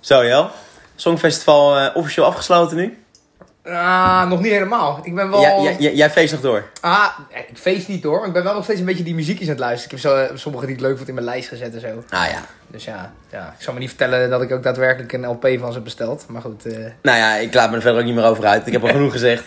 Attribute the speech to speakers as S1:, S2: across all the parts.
S1: Zo Jel, Songfestival eh, officieel afgesloten nu.
S2: Ah, nog niet helemaal. Ik ben wel...
S1: Ja, ja, ja, jij feest nog door.
S2: Ah, ik feest niet hoor. maar Ik ben wel nog steeds een beetje die muziekjes aan het luisteren. Ik heb zo, eh, sommige die ik leuk vond in mijn lijst gezet en zo.
S1: Ah ja.
S2: Dus ja, ja, ik zal me niet vertellen dat ik ook daadwerkelijk een LP van ze heb besteld. Maar goed, eh,
S1: Nou ja, ik laat me er verder ook niet meer over uit. Ik heb al genoeg gezegd.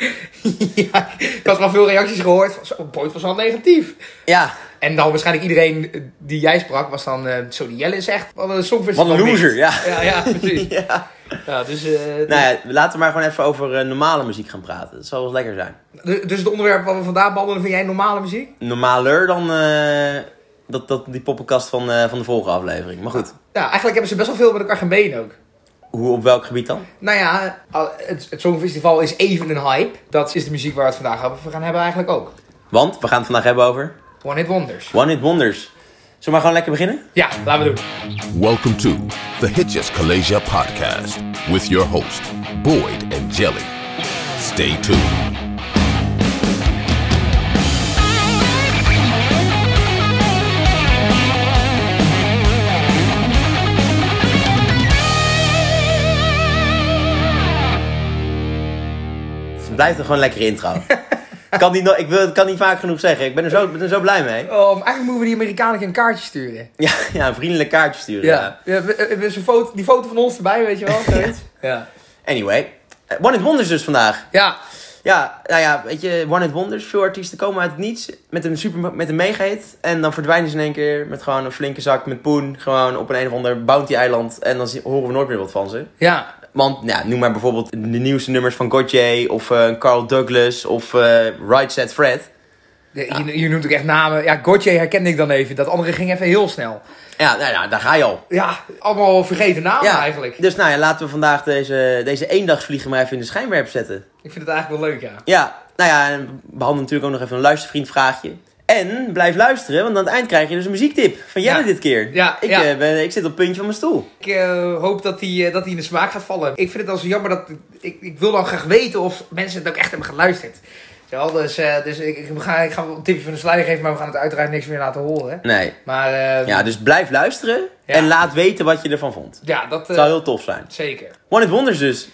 S2: ja, ik had wel veel reacties gehoord van, zo, Boyd was al negatief.
S1: Ja,
S2: En dan waarschijnlijk iedereen eh, die jij sprak was dan, eh zo die Jelle is echt, wat een songfestival.
S1: wat een loser.
S2: mist.
S1: Ja.
S2: Ja, ja, precies.
S1: ja.
S2: Ja, dus, eh,
S1: Nou ja, laten we maar gewoon even over eh, normale muziek gaan praten. Dat zal wel lekker zijn.
S2: dus- dus het onderwerp wat we vandaag behandelen, vind jij normale muziek?
S1: Normaler dan eh, dat, dat, die poppenkast van, eh, van de vorige aflevering. Maar goed,
S2: Ja, eigenlijk hebben ze best wel veel met elkaar gemeen ook.
S1: hoe, op welk gebied dan?
S2: Nou ja, al- het, het Songfestival is even een hype. Dat is de muziek waar we het vandaag over gaan hebben eigenlijk ook.
S1: Want we gaan het vandaag hebben over
S2: One Hit Wonders.
S1: One Hit Wonders. Zullen we maar gewoon lekker beginnen?
S2: Ja, laten we doen.
S3: Welcome to the Hitches Kalasia podcast with your host, Boyd and Jelly. Stay tuned.
S1: Het blijft er gewoon lekker intro. kan niet, no- ik wil, het kan niet vaak genoeg zeggen. Ik ben er zo, ik ben er zo blij mee.
S2: Oh, maar eigenlijk moeten we die Amerikanen een kaartje sturen.
S1: Ja, ja, een vriendelijk kaartje sturen.
S2: Ja. ja. we- we- we- zo'n foto, die foto van ons erbij, weet je wel. zoiets. ja.
S1: Anyway, eh, One Hit Wonders dus vandaag.
S2: Ja.
S1: Ja, nou ja, weet je, One Hit Wonders. Veel artiesten komen uit het niets met een, super, met een mega hit. En dan verdwijnen ze in één keer met gewoon een flinke zak met poen. Gewoon op een, een of ander bounty-eiland. En dan zi- horen we nooit meer wat van ze.
S2: Ja.
S1: Want, nou, noem maar bijvoorbeeld de nieuwste nummers van Gauthier of eh, Carl Douglas of eh Right Set Fred.
S2: De- Je, je noemt ook echt namen. Ja, Gauthier herkende ik dan even. Dat andere ging even heel snel.
S1: Ja, nou, nou, daar ga je al.
S2: Ja, allemaal vergeten namen Ah, eigenlijk.
S1: Dus nou ja, laten we vandaag deze, deze eendagsvliegen maar even in de schijnwerp zetten.
S2: Ik vind het eigenlijk wel leuk, ja.
S1: Ja, nou ja, en we behandelen natuurlijk ook nog even een luistervriendvraagje. En blijf luisteren, want aan het eind krijg je dus een muziektip van Jelle
S2: Ja.
S1: dit keer.
S2: Ja,
S1: ik,
S2: ja.
S1: eh, ben, ik zit op het puntje van mijn stoel.
S2: Ik eh, hoop dat die, eh, dat die in de smaak gaat vallen. Ik vind het al zo jammer dat... Ik, ik wil dan graag weten of mensen het ook echt hebben geluisterd. Weet je wel, dus eh, dus ik, ik, ga, ik ga wel een tipje van de slider geven, maar we gaan het uiteraard niks meer laten horen.
S1: Nee.
S2: Maar eh,
S1: Ja,
S2: ja,
S1: dus blijf luisteren
S2: Ja.
S1: en laat weten wat je ervan vond.
S2: dat... eh,
S1: Het zou heel tof zijn.
S2: zeker.
S1: One Hit Wonders dus.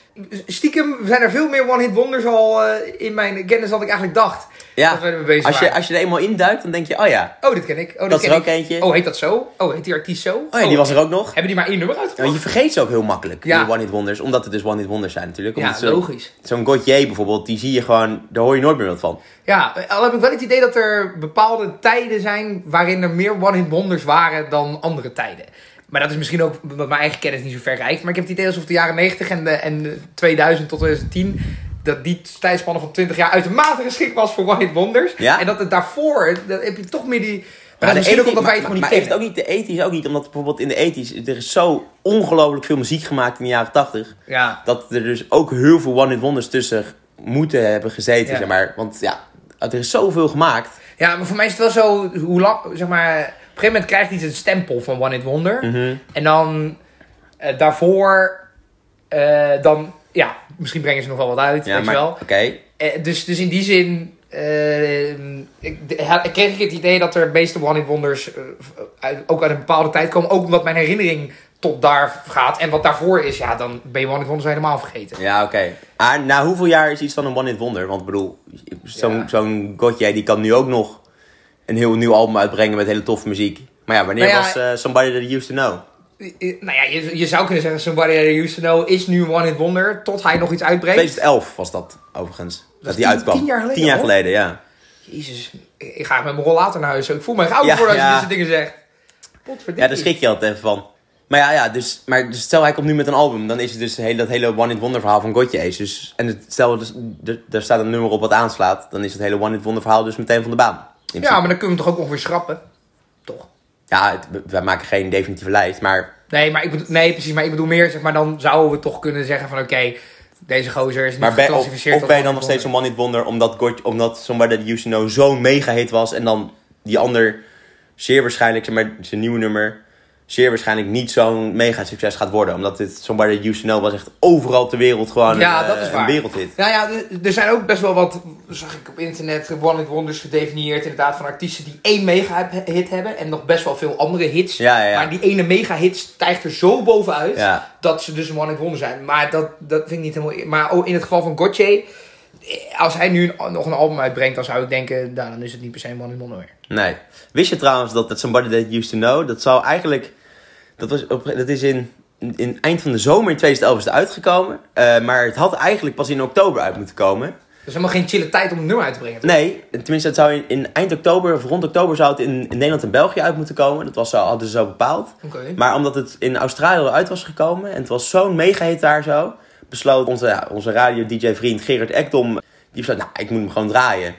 S2: Stiekem zijn er veel meer One Hit Wonders al eh, in mijn kennis dan ik eigenlijk dacht.
S1: Ja,
S2: Dat we ermee bezig
S1: als je,
S2: waren.
S1: als je er eenmaal induikt, dan denk je, oh ja,
S2: Oh, dit ken ik. Oh, dit
S1: dat is
S2: ken
S1: er ook
S2: ik.
S1: eentje.
S2: Oh, heet dat zo? Oh, heet die artiest zo?
S1: Oh ja, die was er ook nog.
S2: Hebben die maar één nummer
S1: Ja, want
S2: uitgebracht?
S1: je vergeet ze ook heel makkelijk,
S2: Ja.
S1: die One Hit Wonders. Omdat het dus One Hit Wonders zijn natuurlijk.
S2: Ja,
S1: Omdat zo-
S2: logisch.
S1: Zo'n Gauthier bijvoorbeeld, die zie je gewoon, daar hoor je nooit meer wat van.
S2: Ja, al heb ik wel het idee dat er bepaalde tijden zijn waarin er meer one-hit wonders waren dan andere tijden. Maar dat is misschien ook omdat mijn eigen kennis niet zo ver reikt. Maar ik heb het idee alsof de jaren 90 en, de, en de 2000 tot 2010, dat die tijdspanne van 20 jaar uitermate geschikt was voor one-hit wonders.
S1: Ja.
S2: En dat het daarvoor, dat heb je toch meer die... Maar dat is
S1: de
S2: misschien
S1: 80's
S2: ook omdat wij het gewoon
S1: maar,
S2: niet kennen.
S1: Maar heeft het ook niet de 80's ook niet, omdat bijvoorbeeld in de 80's er is zo ongelooflijk veel muziek gemaakt in de jaren 80.
S2: Ja.
S1: Dat er dus ook heel veel One Hit Wonders tussen moeten hebben gezeten,
S2: Ja.
S1: zeg maar. Want ja, er is zoveel gemaakt.
S2: Ja, maar voor mij is het wel zo, hoe lang, zeg maar, op een gegeven moment krijgt iets het stempel van One Hit Wonder.
S1: Mhm.
S2: En dan eh, daarvoor, eh, dan, ja, misschien brengen ze nog wel wat uit,
S1: Ja,
S2: weet
S1: maar
S2: je wel.
S1: oké.
S2: Eh, dus, dus in die zin eh, ik, de- ha- kreeg ik het idee dat er meeste One Hit Wonders eh, v- uit- ook uit een bepaalde tijd komen. Ook omdat mijn herinnering tot daar gaat. En wat daarvoor is, ja, dan ben je One Hit Wonders helemaal vergeten.
S1: Ja, oké. Maar na hoeveel jaar is iets van een One Hit Wonder? Want ik bedoel, zo'n
S2: Ja.
S1: zo'n Gauthier die kan nu ook nog een heel nieuw album uitbrengen met hele toffe muziek. Maar ja, wanneer
S2: Nou ja,
S1: was eh, Somebody That You Used To Know?
S2: Eh, eh, Nou ja, je, je zou kunnen zeggen, Somebody I Used To Know is nu One Hit Wonder. Tot hij nog iets uitbrengt.
S1: 2011 was dat, overigens. Dat, die
S2: tien-
S1: uitkwam.
S2: tien jaar geleden,
S1: Tien jaar
S2: hoor.
S1: geleden, ja.
S2: Jezus, ik ga met mijn rollator naar huis. Ik voel me echt oud
S1: Ja,
S2: voor als
S1: ja.
S2: je dit soort dingen zegt.
S1: Ja, daar schrik je altijd even van. Maar ja, ja dus, maar dus stel hij komt nu met een album, dan is het dus heel, dat hele One Hit Wonder verhaal van Gotje Ace. Dus, en het, stel, dus, er- daar staat een nummer op wat aanslaat, dan is het hele One Hit Wonder verhaal dus meteen van de baan. In
S2: Ja,
S1: principe.
S2: maar dan kunnen we hem toch ook ongeveer schrappen? Toch?
S1: ja het- we- wij maken geen definitieve lijst, maar
S2: Nee, maar ik bedoel, nee, precies. Maar ik bedoel meer, zeg maar, dan zouden we toch kunnen zeggen van... Oké, deze gozer is niet
S1: Maar ben, of,
S2: geclassificeerd
S1: of ben je
S2: als
S1: dan nog steeds een one-hit wonder omdat, God, omdat Somebody That You Should Know zo'n mega hit was en dan die ander zeer waarschijnlijk, zeg maar, zijn nieuwe nummer zeer waarschijnlijk niet zo'n mega succes gaat worden. Omdat dit Somebody You Should Know was echt overal ter wereld gewoon
S2: Ja,
S1: een,
S2: dat
S1: eh,
S2: is
S1: een
S2: waar.
S1: wereldhit.
S2: Nou ja, er- er zijn ook best wel wat, zag ik op internet, One Hit Wonders gedefinieerd. Inderdaad, van artiesten die één mega-hit hebben en nog best wel veel andere hits.
S1: Ja, ja, ja.
S2: Maar die ene mega-hit stijgt er zo bovenuit
S1: Ja.
S2: dat ze dus een One Hit Wonder zijn. Maar dat, dat vind ik niet helemaal... Maar ook in het geval van Gotye, als hij nu een- nog een album uitbrengt, dan zou ik denken, nou, dan is het niet per se een One Hit Wonder meer.
S1: Nee. Wist je trouwens dat, dat Somebody That You Used To Know, dat zou eigenlijk... Dat, was op, dat is in, in eind van de zomer in 2011 is het uitgekomen. Eh, maar het had eigenlijk pas in oktober uit moeten komen.
S2: Dat is helemaal geen chille tijd om een nummer uit te brengen.
S1: Nee, tenminste, het zou in, in eind oktober of rond oktober zou het in, in Nederland en België uit moeten komen. Dat was, zo- hadden ze zo bepaald.
S2: Oké.
S1: Maar omdat het in Australië al uit was gekomen en het was zo'n mega hit daar zo, besloot onze, ja, onze radio-dj-vriend Gerard Ekdom, die besloot, nou, ik moet hem gewoon draaien.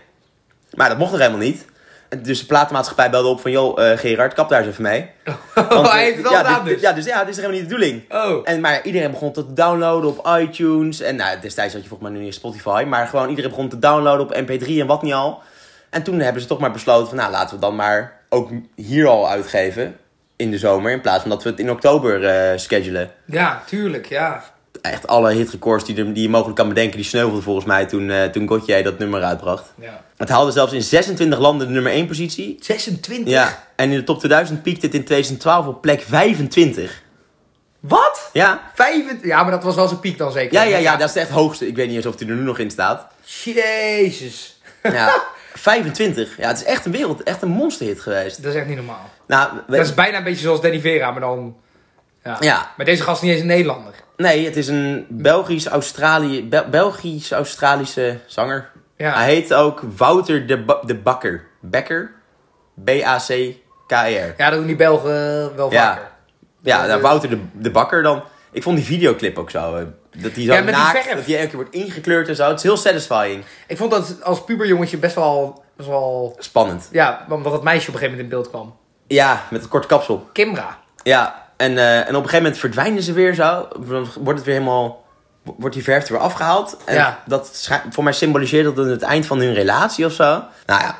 S1: Maar dat mocht nog helemaal niet. En Dus de platenmaatschappij belde op van, joh, eh, Gerard, kap daar eens even mee. Want,
S2: oh, hij
S1: eh,
S2: heeft het al
S1: ja,
S2: gedaan
S1: dit-
S2: dus.
S1: Ja, dus ja, dit is helemaal niet de bedoeling.
S2: Oh.
S1: En, maar iedereen begon te downloaden op iTunes. En nou, destijds had je volgens mij nu niet eens Spotify. Maar gewoon iedereen begon te downloaden op MP3 en wat niet al. En toen hebben ze toch maar besloten van... Nou, laten we het dan maar ook hier al uitgeven. In de zomer. In plaats van dat we het in oktober eh, schedulen.
S2: Ja, tuurlijk, ja.
S1: Echt alle hitrecords die, er- die je mogelijk kan bedenken... die sneuvelden volgens mij toen, eh toen Gotye dat nummer uitbracht.
S2: ja.
S1: Het haalde zelfs in 26 landen de nummer 1 positie.
S2: 26?
S1: Ja. En in de top 2000 piekte het in 2012 op plek 25.
S2: Wat?
S1: Ja.
S2: Vijfent- Ja, maar dat was wel zijn piek dan zeker.
S1: Ja, ja, ja, dat is echt hoogste. Ik weet niet eens of hij er nu nog in staat.
S2: Jezus.
S1: Ja, 25. Ja, het is echt een wereld, echt een monsterhit geweest.
S2: Dat is echt niet normaal.
S1: Nou, we-
S2: Dat is bijna een beetje zoals Danny Vera, maar dan... Ja.
S1: Ja.
S2: Maar deze gast is niet eens een Nederlander.
S1: nee, het is een Belgisch-Australië, Bel- Belgisch-Australische zanger.
S2: Ja.
S1: Hij heet ook Wouter de, Ba- de Bakker. Bekker? B-A-C-K-E-R.
S2: Ja, dat doen die Belgen wel
S1: Ja.
S2: vaker.
S1: E
S2: Eh,
S1: Ja, nou, Wouter de, de Bakker dan. Ik vond die videoclip ook zo. eh, Dat hij zo
S2: Ja, met die
S1: naakt,
S2: verf.
S1: dat hij elke keer wordt ingekleurd en zo. Het is heel satisfying.
S2: Ik vond dat als puberjongetje best wel... Best wel...
S1: Spannend.
S2: Ja, omdat dat meisje op een gegeven moment in beeld kwam.
S1: Ja, met een korte kapsel.
S2: Kimra.
S1: Ja, en, eh, en op een gegeven moment verdwijnen ze weer zo. Dan wordt het weer helemaal... Wordt die verf er weer afgehaald. En
S2: Ja.
S1: dat schij- voor mij symboliseert dat het eind van hun relatie of zo. Nou ja,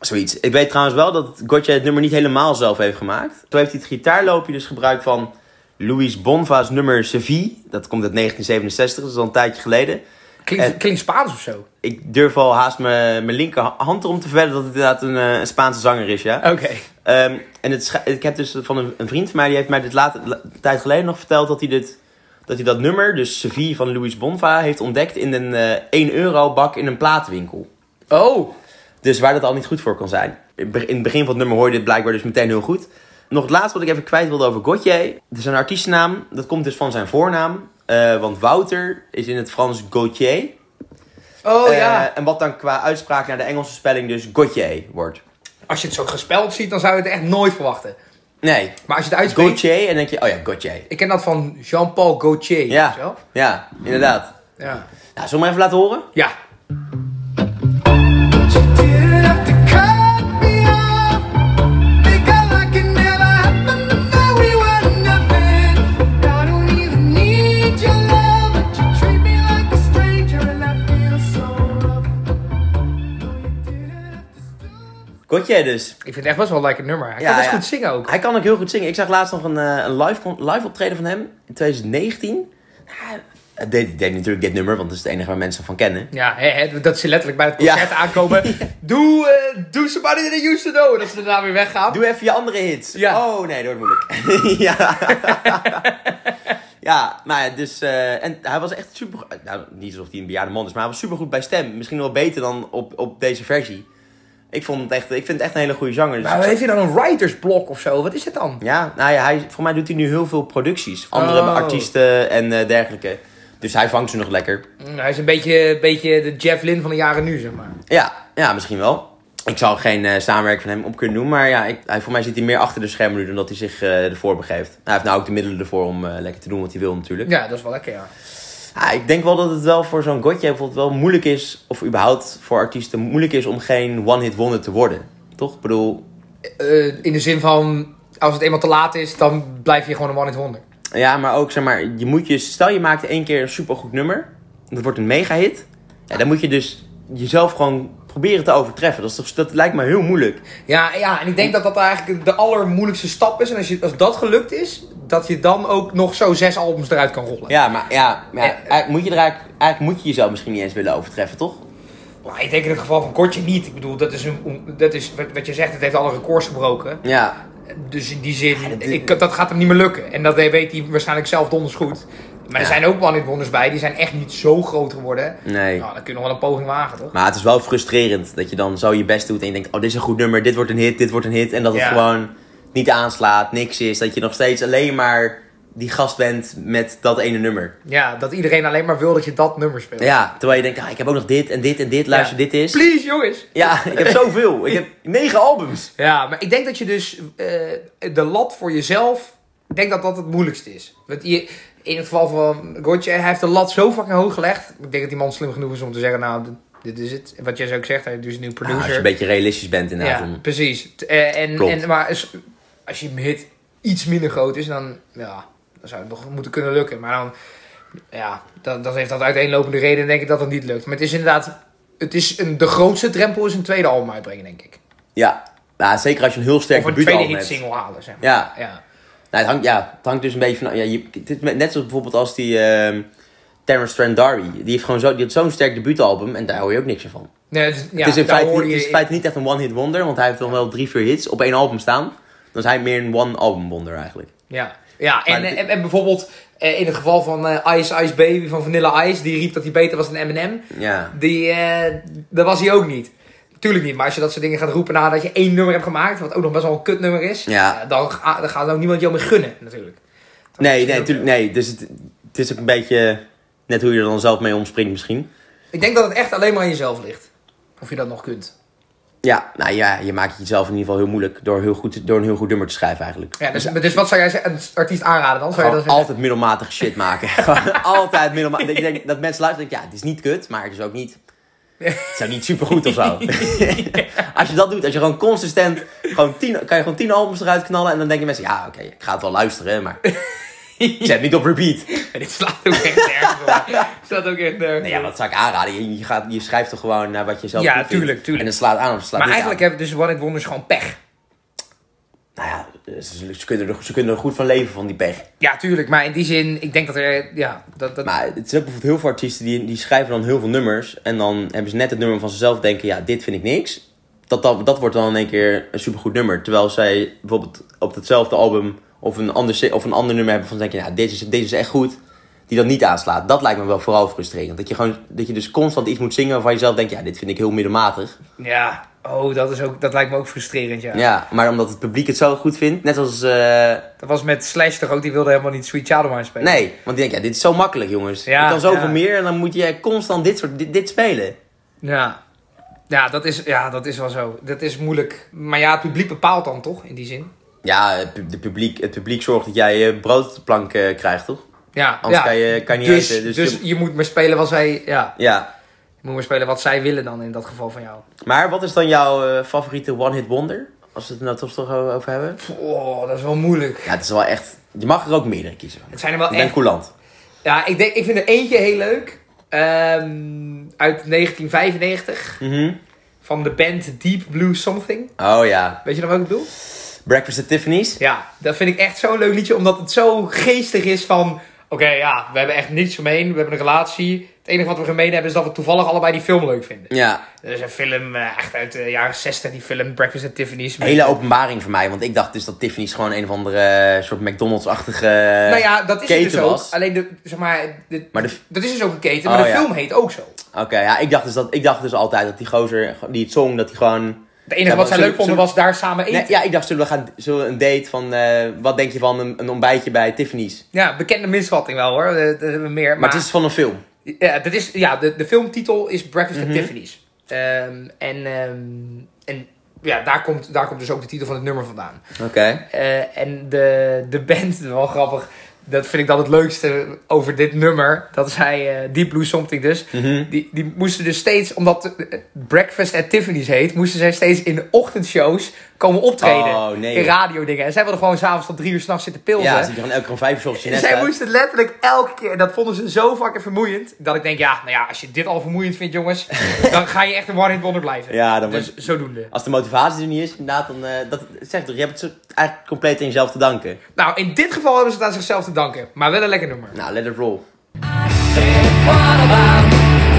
S1: zoiets. Ik weet trouwens wel dat Gotje het nummer niet helemaal zelf heeft gemaakt. Toen heeft hij het gitaarloopje dus gebruikt van Louis Bonva's nummer Seville. Dat komt uit 1967, dat is al een tijdje geleden.
S2: Klinkt,
S1: En-
S2: klinkt Spaans of zo.
S1: Ik durf al haast mijn, mijn linkerhand erom te verder dat het inderdaad een, eh, een Spaanse zanger is, ja.
S2: Oké.
S1: Ehm, en het scha- ik heb dus van een, een vriend van mij, die heeft mij dit later, la- een tijd geleden nog verteld dat hij, dit, dat hij dat nummer, dus Seville van Louis Bonva, heeft ontdekt in een eh 1 euro bak in een platenwinkel.
S2: Oh.
S1: Dus waar dat al niet goed voor kan zijn. In be- in het begin van het nummer hoor je dit blijkbaar dus meteen heel goed. Nog het laatste wat ik even kwijt wilde over Gauthier. Het is een artiestennaam, dat komt dus van zijn voornaam. eh, want Wouter is in het Frans Gauthier.
S2: Oh
S1: Eh,
S2: ja.
S1: En wat dan qua uitspraak naar de Engelse spelling dus Gauthier wordt.
S2: Als je het zo gespeld ziet, dan zou je het echt nooit verwachten.
S1: Nee,
S2: Maar als je het uitspreekt...
S1: Gauthier en dan denk je, oh ja, Gauthier.
S2: Ik ken dat van Jean-Paul Gaultier. weet je
S1: Ja,
S2: wel?
S1: ja, inderdaad.
S2: Ja.
S1: Nou, zullen we maar even laten horen?
S2: Ja.
S1: Gauthier dus.
S2: Ik vind het echt best wel een lekker nummer. Hij
S1: Ja,
S2: kan best
S1: ja.
S2: goed zingen ook.
S1: Hij kan ook heel goed zingen. Ik zag laatst nog een, eh, een live, con- live optreden van hem in 2019. Nou, Hij deed, deed natuurlijk dit nummer, want dat is het enige waar mensen van kennen.
S2: Ja, hè, hè, dat ze letterlijk bij het concert
S1: Ja.
S2: aankomen. Doe, eh doe somebody that I used to know. oh, Dat ze daarna weer weggaan.
S1: Doe even je andere hits.
S2: Ja.
S1: Oh nee, dat wordt moeilijk. ja. ja, maar ja, dus... eh, en hij was echt super... Nou, niet alsof hij een bejaarde man is, maar hij was super goed bij stem. Misschien wel beter dan op, op deze versie. Ik, vond het echt, ik vind het echt een hele goede zanger. Dus ik
S2: Maar
S1: zou-
S2: heeft hij dan een writersblok of zo? Wat is het dan?
S1: Ja, nou ja, hij, voor mij doet hij nu heel veel producties. Andere
S2: Oh.
S1: artiesten en eh, dergelijke. Dus hij vangt ze nog lekker.
S2: Mm, Hij is een beetje, beetje de Jeff Lynne van de jaren nu, zeg maar.
S1: Ja, ja misschien wel. Ik zou geen eh, samenwerking van hem op kunnen doen. Maar ja, ik, hij, voor mij zit hij meer achter de schermen nu dan dat hij zich eh, ervoor begeeft. Nou, hij heeft nou ook de middelen ervoor om eh, lekker te doen wat hij wil natuurlijk.
S2: Ja, dat is wel lekker, ja.
S1: Ah, ik denk wel dat het wel voor zo'n Gotje bijvoorbeeld wel moeilijk is... of überhaupt voor artiesten moeilijk is om geen one-hit wonder te worden. Toch? Ik bedoel,
S2: Eh, in de zin van, als het eenmaal te laat is, dan blijf je gewoon een one-hit wonder.
S1: Ja, maar ook zeg maar, je moet je, stel je maakt één keer een supergoed nummer, dat wordt een mega hit. Ja, dan moet je dus jezelf gewoon pro- proberen te overtreffen. Dat, is toch, dat lijkt me heel moeilijk.
S2: Ja, ja, en ik denk dat dat eigenlijk de allermoeilijkste stap is. En als, je, als dat gelukt is, dat je dan ook nog zo zes albums eruit kan rollen.
S1: Ja, maar, ja, maar ja, eigenlijk, moet je er eigenlijk, eigenlijk moet je jezelf misschien niet eens willen overtreffen, toch?
S2: Maar ik denk in het geval van Kortje niet. Ik bedoel, dat is, een, dat is wat, wat je zegt, het heeft alle records gebroken.
S1: Ja,
S2: Dus in die zin, ik, dat gaat hem niet meer lukken. En dat weet hij waarschijnlijk zelf donders goed. Maar er
S1: Ja.
S2: zijn ook one wonders bij, die zijn echt niet zo groot geworden.
S1: nee.
S2: Nou, dan kun je nog wel een poging wagen, toch?
S1: Maar het is wel frustrerend dat je dan zo je best doet en je denkt, oh dit is een goed nummer, dit wordt een hit, dit wordt een hit. En dat het
S2: Ja.
S1: gewoon niet aanslaat, niks is. Dat je nog steeds alleen maar die gast bent met dat ene nummer.
S2: Ja, dat iedereen alleen maar wil dat je dat nummer speelt.
S1: Ja, terwijl je denkt, ah, ik heb ook nog dit en dit en dit, luister
S2: Ja.
S1: dit is.
S2: Please, jongens!
S1: Ja, ik heb zoveel. Ik heb negen albums.
S2: Ja, maar ik denk dat je dus eh, de lat voor jezelf, ik denk dat dat het moeilijkste is. Want je, in het geval van Gotje, hij heeft de lat zo fucking hoog gelegd. Ik denk dat die man slim genoeg is om te zeggen, nou, dit- dit is het. Wat jij zo ook zegt, hij is dus een nieuw
S1: Ah, als
S2: producer.
S1: je een beetje realistisch bent inderdaad.
S2: ja,
S1: dan-
S2: precies. T- eh, en,
S1: Klopt.
S2: en, maar als, als je hem hit iets minder groot is, dan, ja, dan zou het nog moeten kunnen lukken. Maar dan, ja, dan, dan heeft dat uiteenlopende reden denk ik dat het niet lukt. Maar het is inderdaad, het is een, de grootste drempel is een tweede album uitbrengen, denk ik.
S1: Ja. Ja, zeker als je een heel sterk
S2: Of een
S1: debuutalbum
S2: tweede
S1: hebt.
S2: hit single halen, zeg maar.
S1: Ja.
S2: ja.
S1: Nou, het hangt, ja, het hangt dus een beetje van... Ja, je, het is net zoals bijvoorbeeld als die ehm Terrence Trent D'Arby. Die heeft gewoon zo, die had zo'n sterk debuutalbum en daar hoor je ook niks meer van.
S2: Nee, het, is- ja,
S1: het is in
S2: daar
S1: feite,
S2: hoor
S1: niet-
S2: je-
S1: het is in feite niet echt een one-hit wonder, want hij heeft dan wel drie, vier hits op één album staan. Dan is hij meer een one-album wonder eigenlijk.
S2: Ja, ja en,
S1: Maar-
S2: en, en bijvoorbeeld eh, in het geval van eh, Ice Ice Baby van Vanilla Ice, die riep dat hij beter was dan Eminem.
S1: Ja.
S2: Die, eh, dat was hij ook niet. Tuurlijk niet, maar als je dat soort dingen gaat roepen nadat je één nummer hebt gemaakt, wat ook nog best wel een kutnummer is,
S1: Ja.
S2: eh, dan, ga- dan gaat ook niemand jou meer gunnen, natuurlijk.
S1: Nee, nee, natuurlijk, nee. Dus het, het is ook een beetje net hoe je er dan zelf mee omspringt misschien.
S2: Ik denk dat het echt alleen maar aan jezelf ligt. Of je dat nog kunt.
S1: Ja, nou ja, je maakt het jezelf in ieder geval heel moeilijk door, heel goed, door een heel goed nummer te schrijven eigenlijk.
S2: Ja, dus, dus wat zou jij ze- een artiest aanraden dan? Zou je
S1: Gewoon
S2: dan zeggen,
S1: altijd middelmatige shit maken. Gewoon altijd middelmatig. Dat, je denkt- dat mensen luisteren denken, ja, het is niet kut, maar het is ook niet... Het is ook niet supergoed of zo. als je dat doet, als je gewoon consistent... Gewoon tien, kan je gewoon tien albums eruit knallen. En dan denken mensen, ja, oké, ik ga het wel luisteren, maar... Ik zet niet op repeat.
S2: dit slaat ook echt nergens op. Dit slaat ook echt nergens
S1: Nee, ja,
S2: op.
S1: wat zou ik aanraden? Je, je, gaat, je schrijft toch gewoon naar wat je zelf
S2: Ja,
S1: goed vindt.
S2: tuurlijk, tuurlijk.
S1: En het slaat aan of het slaat
S2: Maar
S1: niet
S2: eigenlijk hebben dus One It Wonders gewoon pech.
S1: aan. Nou ja, ze, ze kunnen er, ze kunnen er goed van leven van die pech.
S2: Ja, tuurlijk. Maar in die zin, ik denk dat er... Ja, dat, dat...
S1: Maar het is ook bijvoorbeeld heel veel artiesten die, die schrijven dan heel veel nummers. En dan hebben ze net het nummer van zichzelf denken, ja, dit vind ik niks. Dat, dat, dat wordt dan in één keer een supergoed nummer. Terwijl zij bijvoorbeeld op datzelfde album of een ander, si- of een ander nummer hebben van denk je, ja, dit is, dit is echt goed. Die dat niet aanslaat. Dat lijkt me wel vooral frustrerend. Dat je, gewoon, dat je dus constant iets moet zingen waarvan je zelf denkt, ja, dit vind ik heel middelmatig.
S2: Ja, oh, dat, is ook, dat lijkt me ook frustrerend, ja.
S1: Ja, maar omdat het publiek het zo goed vindt, net als... eh,
S2: Dat was met Slash toch ook, die wilde helemaal niet Sweet Child of Mine spelen.
S1: nee, want die denkt, ja, dit is zo makkelijk, jongens.
S2: Ja,
S1: je kan zoveel
S2: ja.
S1: meer en dan moet je constant dit soort, dit, dit spelen.
S2: Ja. Ja dat, is, ja, dat is wel zo. Dat is moeilijk. Maar ja, het publiek bepaalt dan toch, in die zin.
S1: Ja, het pub- de publiek, het publiek zorgt dat jij je broodplank eh, krijgt, toch?
S2: Ja,
S1: Anders
S2: ja.
S1: kan je- kan je niet
S2: dus,
S1: eten, dus
S2: dus
S1: je-
S2: je... moet maar spelen wat zij... Ja,
S1: Ja.
S2: je moet maar spelen wat zij willen dan, in dat geval van jou.
S1: Maar wat is dan jouw eh, favoriete one-hit wonder? Als we het er nou toch toch o- over hebben.
S2: Oh, dat is wel moeilijk.
S1: Ja, het is wel echt... Je mag er ook meerdere kiezen.
S2: Het zijn er wel
S1: Ik ben
S2: echt...
S1: coulant.
S2: Ja, ik, denk, ik vind er eentje heel leuk. Ehm, uit 1995. Van de band Deep Blue Something.
S1: Oh ja.
S2: Weet je nog wat ik bedoel?
S1: Breakfast at Tiffany's?
S2: Ja, dat vind ik echt zo'n leuk liedje, omdat het zo geestig is van... Oké, ja, we hebben echt niets omheen, we hebben een relatie. Het enige wat we gemeen hebben is dat we toevallig allebei die film leuk vinden.
S1: Ja.
S2: Er is een film, eh, echt uit de jaren 60, die film Breakfast at Tiffany's. met-
S1: Hele openbaring voor mij, want ik dacht dus dat Tiffany's gewoon een of andere eh, soort McDonald's-achtige eh,
S2: nou ja, dat is het
S1: keten
S2: dus ook.
S1: was.
S2: Alleen, de, zeg maar, de-
S1: Maar de-
S2: dat is dus ook een keten, maar
S1: Oh,
S2: de
S1: ja.
S2: film heet ook zo.
S1: Oké, ja, ik dacht, dus dat, ik dacht dus altijd dat die gozer die het zong, dat hij gewoon...
S2: Het enige
S1: Ja, maar
S2: wat zij
S1: zullen-
S2: leuk vonden
S1: zullen-
S2: was daar samen eten.
S1: Nee, ja, ik dacht, zullen we gaan zullen we een date van... eh, wat denk je van een, een ontbijtje bij Tiffany's?
S2: Ja, bekende misvatting wel hoor, Eh, dat hebben we meer. Maar,
S1: Maar het is Mhm. van een film.
S2: Ja, dat is, ja de, de filmtitel is Breakfast at Tiffany's. Ehm, en ehm, en ja, daar, komt, daar komt dus ook de titel van het nummer vandaan.
S1: Oké.
S2: Eh, en de, de band, wel grappig, dat vind ik dan het leukste over dit nummer. Dat zij eh Deep Blue Something dus.
S1: Mhm.
S2: Die, die moesten dus steeds, omdat eh, Breakfast at Tiffany's heet, moesten zij steeds in de ochtendshows komen optreden.
S1: Oh, nee.
S2: In radiodingen. En zij wilden gewoon s'avonds tot drie uur s'nachts zitten pilsen.
S1: Ja, zit je gewoon elke keer om vijf uur 's ochtends in
S2: Dus Zij
S1: Nesta.
S2: moesten letterlijk elke keer, dat vonden ze zo fucking vermoeiend. Dat ik denk, ja, nou ja, als je dit al vermoeiend vindt, jongens, dan ga je echt een one-hit wonder blijven.
S1: Ja, dan
S2: dus zodoende.
S1: Als de motivatie er niet is, inderdaad, dan... eh, dat, zeg toch, je hebt het zo- eigenlijk compleet aan jezelf te danken.
S2: Nou, in dit geval hebben ze het aan zichzelf te danken. Maar wel een lekker nummer.
S1: Nou, let it roll.
S4: What about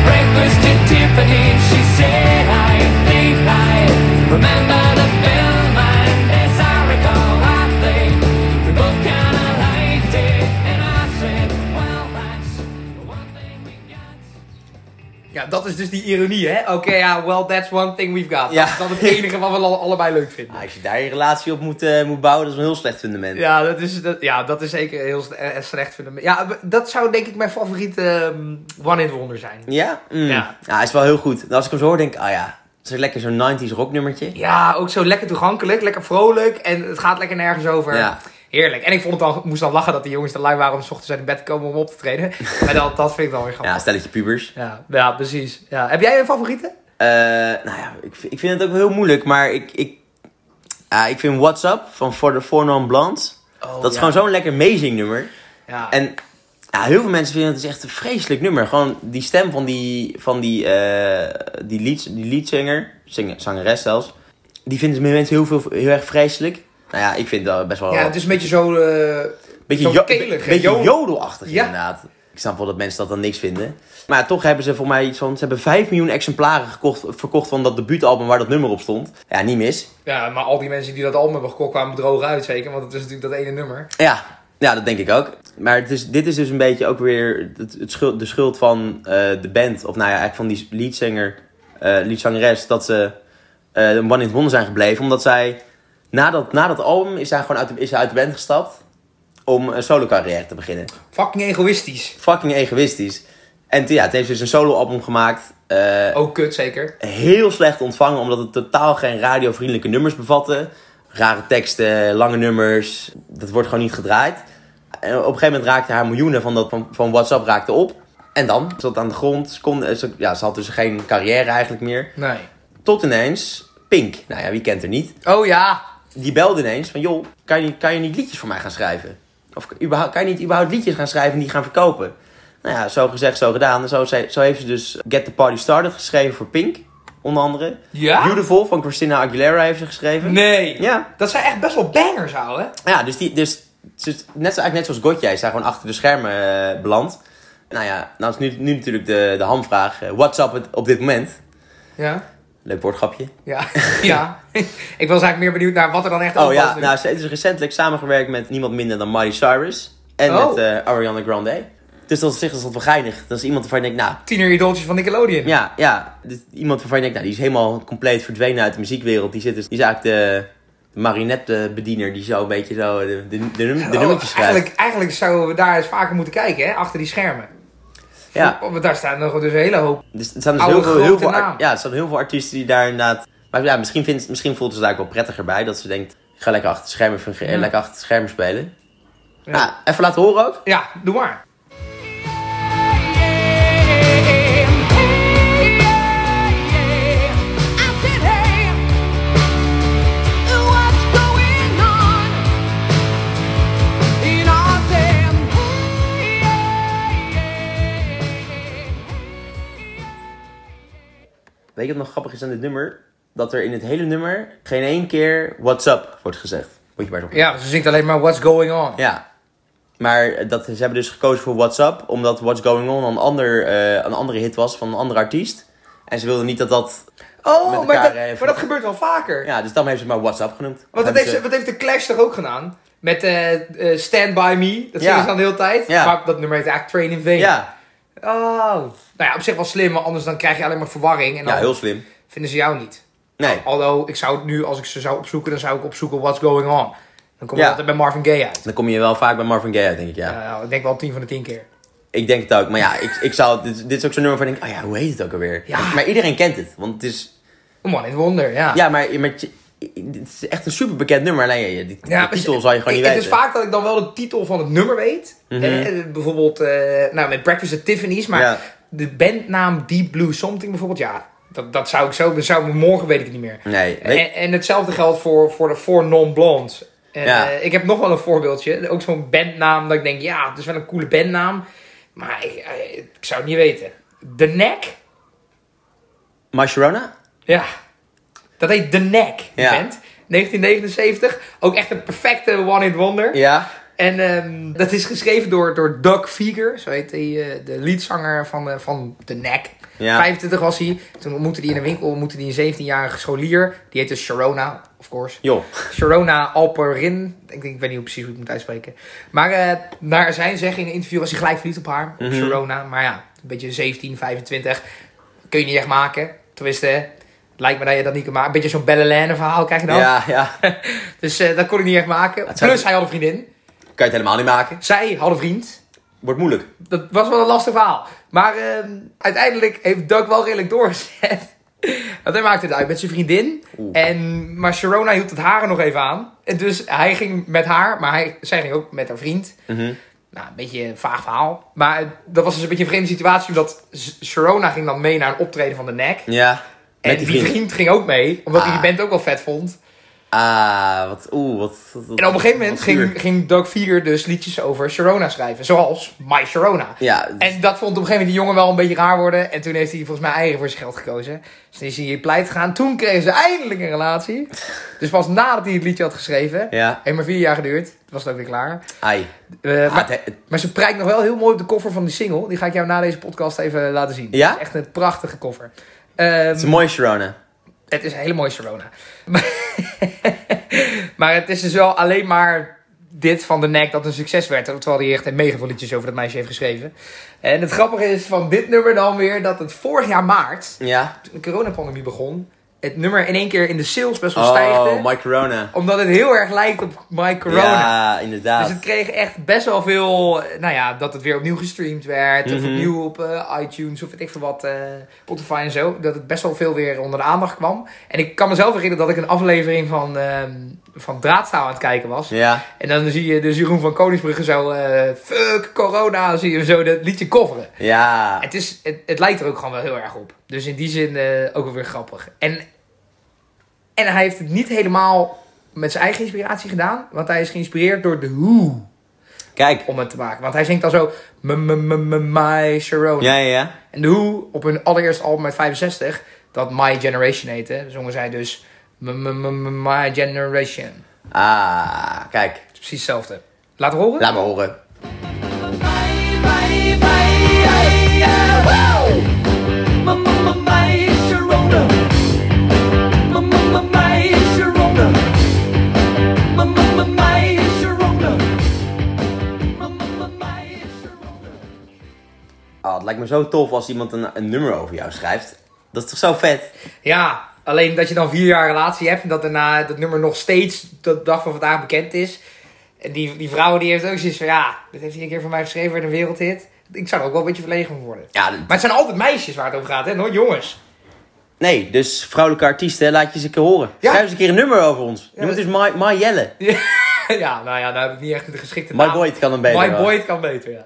S4: breakfast at Tiffany's? She said, I think I remember the film, and as I recall, I think we both kinda liked it. And I said, well, that's one thing we got.
S2: Ja, dat is dus die ironie, hè? Oké, ja, well, that's one thing we've got.
S1: Ja.
S2: Dat is dan het enige wat we al- allebei leuk vinden.
S1: Nou, als je daar je relatie op moet, eh, moet bouwen, dat is een heel slecht fundament.
S2: Ja, dat is, dat, ja, dat is zeker heel s- eh, slecht vinden. Ja, dat zou denk ik mijn favoriete ehm, one-hit wonder zijn.
S1: Ja? Mm.
S2: Ja.
S1: ja? hij is wel heel goed. En Als ik hem zo hoor, denk ik, ah ja, dat is lekker zo'n 90s rocknummertje.
S2: Ja, ook zo lekker toegankelijk, lekker vrolijk en het gaat lekker nergens over.
S1: Ja.
S2: Heerlijk. En ik vond het dan, moest dan lachen dat die jongens te lui waren om 's ochtends uit bed te komen om op te treden. Maar dat, dat vind ik dan weer
S1: Ja,
S2: grappig.
S1: stelletje pubers.
S2: Ja, ja, precies. Ja. Heb jij een favoriete?
S1: Eh, nou ja, ik, vind- ik vind het ook wel heel moeilijk, maar ik, ik, ja, ik vind What's Up van For the Four Non Blondes,
S2: Oh,
S1: dat is
S2: ja.
S1: gewoon zo'n lekker amazing nummer.
S2: Ja.
S1: En ja, heel veel mensen vinden het is echt een vreselijk nummer. Gewoon die stem van die, van die, eh, die, lead, die leadzanger, zing- zangeres zelfs, die vinden mensen heel, veel, heel erg vreselijk. Nou ja, ik vind dat best wel...
S2: ja, het is een beetje zo... eh,
S1: Beetje,
S2: Zo'n
S1: jo-
S2: kelig,
S1: be-
S2: hè?
S1: beetje
S2: Jodel.
S1: jodelachtig
S2: Ja.
S1: inderdaad. Ik snap wel dat mensen dat dan niks vinden. Maar toch hebben ze voor mij iets van... Ze hebben 5 miljoen exemplaren gekocht, verkocht van dat debuutalbum waar dat nummer op stond. Ja, niet mis.
S2: Ja, maar al die mensen die dat album hebben gekocht kwamen droog uit, zeker. Want het is natuurlijk dat ene nummer.
S1: Ja, ja dat denk ik ook. Maar het is, dit is dus een beetje ook weer het, het schuld, de schuld van eh, de band. Of nou ja, eigenlijk van die leadzanger, eh leadzangeres. Dat ze eh, een one in wonder zijn gebleven. Omdat zij... Na dat, na dat album is zij gewoon uit de, is zij uit de band gestapt. Om een solo carrière te beginnen.
S2: Fucking egoïstisch.
S1: fucking egoïstisch. En toen- ja, het heeft dus een solo-album gemaakt. eh,
S2: Ook kut, zeker.
S1: Heel slecht ontvangen, omdat het totaal geen radiovriendelijke nummers bevatte. Rare teksten, lange nummers. Dat wordt gewoon niet gedraaid. En op een gegeven moment raakte haar miljoenen van, dat, van, van WhatsApp raakte op. En dan? Ze zat aan de grond. Ze, kon, eh, ze- ja, ze had dus geen carrière eigenlijk meer.
S2: Nee.
S1: Tot ineens Pink. Nou ja, wie kent er niet?
S2: Oh ja.
S1: Die belde ineens van, joh, kan je, kan je niet liedjes voor mij gaan schrijven? Of überhaupt- kan je niet überhaupt liedjes gaan schrijven en die gaan verkopen? Nou ja, zo gezegd, zo gedaan. En Zo, ze- zo heeft ze dus Get the Party Started geschreven voor Pink, onder andere.
S2: Ja?
S1: Beautiful van Christina Aguilera heeft ze geschreven.
S2: Nee.
S1: Ja.
S2: Dat zijn echt best wel bangers, ouwe.
S1: Ja, dus, die, dus ze is net, zo- eigenlijk net zoals Gotje, is daar gewoon achter de schermen eh, beland. Nou ja, nou is nu, nu natuurlijk de, de hamvraag. eh, what's up op dit moment?
S2: Ja.
S1: Leuk woordgrapje.
S2: Ja. ja. ik was eigenlijk meer benieuwd naar wat er dan echt
S1: Oh
S2: op
S1: ja,
S2: was.
S1: nou, ze heeft dus recentelijk samengewerkt met niemand minder dan Miley Cyrus. En
S2: Oh.
S1: met eh, Ariana Grande. Dus dat is zich dat wel geinig. Dat is iemand waarvan je denkt, nou,
S2: Tieneridoltjes van Nickelodeon.
S1: ja, ja. Dit, iemand waarvan je denkt, nou, die is helemaal compleet verdwenen uit de muziekwereld. Die, zit dus, die is eigenlijk de, de marionettenbediener die zo een beetje zo de, de, de, num- de
S2: Oh,
S1: nummertjes schrijft.
S2: eigenlijk, eigenlijk zouden we daar eens vaker moeten kijken, hè? Achter die schermen.
S1: Ja,
S2: Want daar staan nog dus een hele hoop.
S1: dus er staan dus
S2: Oude
S1: heel veel, heel
S2: grote
S1: veel ar-
S2: naam.
S1: ja, er staan heel veel artiesten die daar inderdaad... Maar ja, misschien, vindt, misschien voelt ze daar ook wel prettiger bij. Dat ze denkt, ik ga lekker achter de schermen, fungeren- eh, lekker achter de schermen spelen. Nou, even laten horen ook.
S2: Ja, doe maar.
S1: Weet je wat nog grappig is aan dit nummer? Dat er in het hele nummer geen één keer what's up wordt gezegd. Moet je maar eens op.
S2: Ja, ze zingt alleen maar What's Going On.
S1: Ja. Maar dat, ze hebben dus gekozen voor what's up. Omdat What's Going On een, ander, eh, een andere hit was van een andere artiest. En ze wilden niet dat dat... Met
S2: Oh, maar,
S1: elkaar
S2: dat,
S1: even-
S2: maar dat gebeurt wel vaker.
S1: Ja, dus dan hebben ze het maar what's up genoemd.
S2: Want dat
S1: Hebben
S2: heeft, ze- dat heeft de Clash toch ook gedaan? Met eh, eh, Stand By Me. Dat
S1: Ja.
S2: zingen ze dan de hele tijd.
S1: Ja.
S2: Maar dat nummer heet eigenlijk Train in Vain.
S1: Ja.
S2: Oh. Nou ja, op zich wel slim, maar anders dan krijg je alleen maar verwarring. En dan
S1: ja, heel slim.
S2: vinden ze jou niet.
S1: Nee.
S2: Alhoewel, ik zou het nu, als ik ze zou opzoeken, dan zou ik opzoeken What's Going On. Dan kom je
S1: Ja.
S2: altijd bij Marvin Gaye uit.
S1: Dan kom je wel vaak bij Marvin Gaye uit, denk ik, ja.
S2: Nou, ik denk wel 10 van de 10 keer.
S1: Ik denk het ook. Maar ja, ik, ik zou... Dit, dit is ook zo'n nummer van denk ik, oh ja, hoe heet het ook alweer?
S2: Ja. Oh
S1: Maar iedereen kent het. Want het is...
S2: Een man in het wonder, ja.
S1: Ja, maar, maar dit is echt een super bekend nummer. Alleen ja, die, die
S2: maar
S1: titel zal je gewoon
S2: ik-
S1: niet
S2: het
S1: weten. Mhm.
S2: is vaak dat ik dan wel de titel van het nummer weet. Eh, bijvoorbeeld, eh, nou met Breakfast at Tiffany's. Maar
S1: Ja.
S2: de bandnaam Deep Blue Something bijvoorbeeld, ja. Dat, dat zou ik zo, dat zou ik morgen weet ik het niet meer. Eh,
S1: Nee, weet-
S2: En, en hetzelfde geldt voor, voor de Four Non-Blondes. En,
S1: Ja.
S2: eh, ik heb nog wel een voorbeeldje. Ook zo'n bandnaam dat ik denk, ja, het is wel een coole bandnaam. Maar ik, eh, ik zou het niet weten. The Neck?
S1: Maar Sharona?
S2: Ja. Dat heet The Neck, die
S1: Ja.
S2: band. 1979. Ook echt een perfecte one-hit wonder.
S1: Ja.
S2: En ehm, dat is geschreven door, door Doug Feger, zo heet hij, eh, de leadzanger van, eh, van The Neck.
S1: Ja.
S2: 25 was hij. Toen ontmoette hij in een winkel ontmoette hij een 17-jarige scholier. Die heette Sharona, of course.
S1: Joh.
S2: Sharona Alperin. Ik, denk, ik weet niet precies hoe ik het moet uitspreken. Maar eh, naar zijn zeggen in een interview was hij gelijk verliefd op haar.
S1: Mhm.
S2: Op Sharona. Maar ja, een beetje 17, 25. Kun je niet echt maken. Tenminste, lijkt me dat je dat niet kan maken. Een beetje zo'n Bellelaine verhaal krijg je dan.
S1: Ja, ja. Kan
S2: Dus eh, dat kon ik niet echt maken.
S1: zou-
S2: Plus, hij had een vriendin.
S1: je het helemaal niet maken.
S2: Zij had een vriend.
S1: Wordt moeilijk.
S2: Dat was wel een lastig verhaal. Maar ehm, uiteindelijk heeft Doug wel redelijk doorgezet. Want hij maakte het uit met zijn vriendin. En, maar Sharona hield het haar er nog even aan. En dus hij ging met haar, maar hij, zij ging ook met haar vriend.
S1: Mhm.
S2: Nou, een beetje een vaag verhaal. Maar dat was dus een beetje een vreemde situatie. Omdat S- Sharona ging dan mee naar een optreden van de nek.
S1: Ja.
S2: en
S1: Met
S2: die
S1: die vriend.
S2: vriend. ging ook mee. Omdat hij
S1: Ah.
S2: die band ook wel vet vond.
S1: Ah, wat. Oeh, wat, wat- wat-
S2: En op een gegeven moment
S1: wat zuur.
S2: ging, ging Doug Vieger dus liedjes over Sharona schrijven. Zoals My Sharona.
S1: Ja.
S2: En dat vond op een gegeven moment die jongen wel een beetje raar worden. En toen heeft hij volgens mij eigen voor zijn geld gekozen. Dus toen is hij hier pleit gegaan. Toen kregen ze eindelijk een relatie. Dus pas nadat hij het liedje had geschreven.
S1: Ja.
S2: Heeft maar vier jaar geduurd. Toen was het ook weer klaar.
S1: Ai.
S2: Eh,
S1: Ah,
S2: maar,
S1: het- het-
S2: maar ze prijkt nog wel heel mooi op de koffer van die single. Die ga ik jou na deze podcast even laten zien.
S1: Ja?
S2: Het is echt een prachtige koffer. Ehm,
S1: Het is een mooie Sharona.
S2: het is een hele mooie Sharona. Maar, maar het is dus wel alleen maar dit van de nek dat een succes werd. Terwijl hij echt een mega veel liedjes over dat meisje heeft geschreven. En het grappige is van dit nummer dan weer dat het vorig jaar maart,
S1: Ja.
S2: toen de coronapandemie begon, het nummer in één keer in de sales best wel stijgde.
S1: Oh, my Corona.
S2: Omdat het heel erg lijkt op My Corona.
S1: Ja,
S2: Dus
S1: inderdaad.
S2: het kreeg echt best wel veel, eh, nou ja, dat het weer opnieuw gestreamd werd.
S1: Mhm.
S2: Of opnieuw op eh, iTunes of weet ik veel wat, eh, Spotify en zo. Dat het best wel veel weer onder de aandacht kwam. En ik kan mezelf herinneren dat ik een aflevering van, ehm, van Draadstaal aan het kijken was.
S1: Ja.
S2: En dan zie je dus Jeroen van Koningsbrugge zo, eh, fuck corona, zie je zo dat liedje coveren.
S1: Ja.
S2: Het, is, het, het lijkt er ook gewoon wel heel erg op. Dus in die zin eh, ook wel weer grappig. En, en hij heeft het niet helemaal met zijn eigen inspiratie gedaan. Want hij is geïnspireerd door de Who
S1: Kijk.
S2: om het te maken. Want hij zingt dan zo... "M- m- m- m- My Sharona.
S1: Ja, ja, ja.
S2: En de Who op hun allereerste album uit 65... dat My Generation heette... zongen zij dus... "M- m- m- m- My Generation. Het
S1: Ah, kijk.
S2: is Precies hetzelfde. Laten we horen?
S1: Laat me horen. Ah, het lijkt me zo tof als iemand een, een nummer over jou schrijft. Dat is toch zo vet?
S2: Ja, alleen dat je dan vier jaar relatie hebt en dat daarna dat nummer nog steeds tot de dag van vandaag bekend is. En die, die vrouw die heeft ook zoiets van, ja, dit heeft hij een keer voor mij geschreven in een wereldhit. Ik zou er ook wel een beetje verlegen van worden.
S1: Ja,
S2: Maar het zijn altijd meisjes waar het over gaat, hè, nooit jongens.
S1: nee, dus vrouwelijke artiesten, laat je eens een keer horen. Schrijf eens een keer een nummer over ons. Noem het dus My, My Jelle.
S2: ja, nou ja, nou heb ik niet echt de geschikte
S1: My
S2: naam.
S1: Boyd kan hem beter,
S2: My
S1: wel.
S2: Boyd kan beter, ja.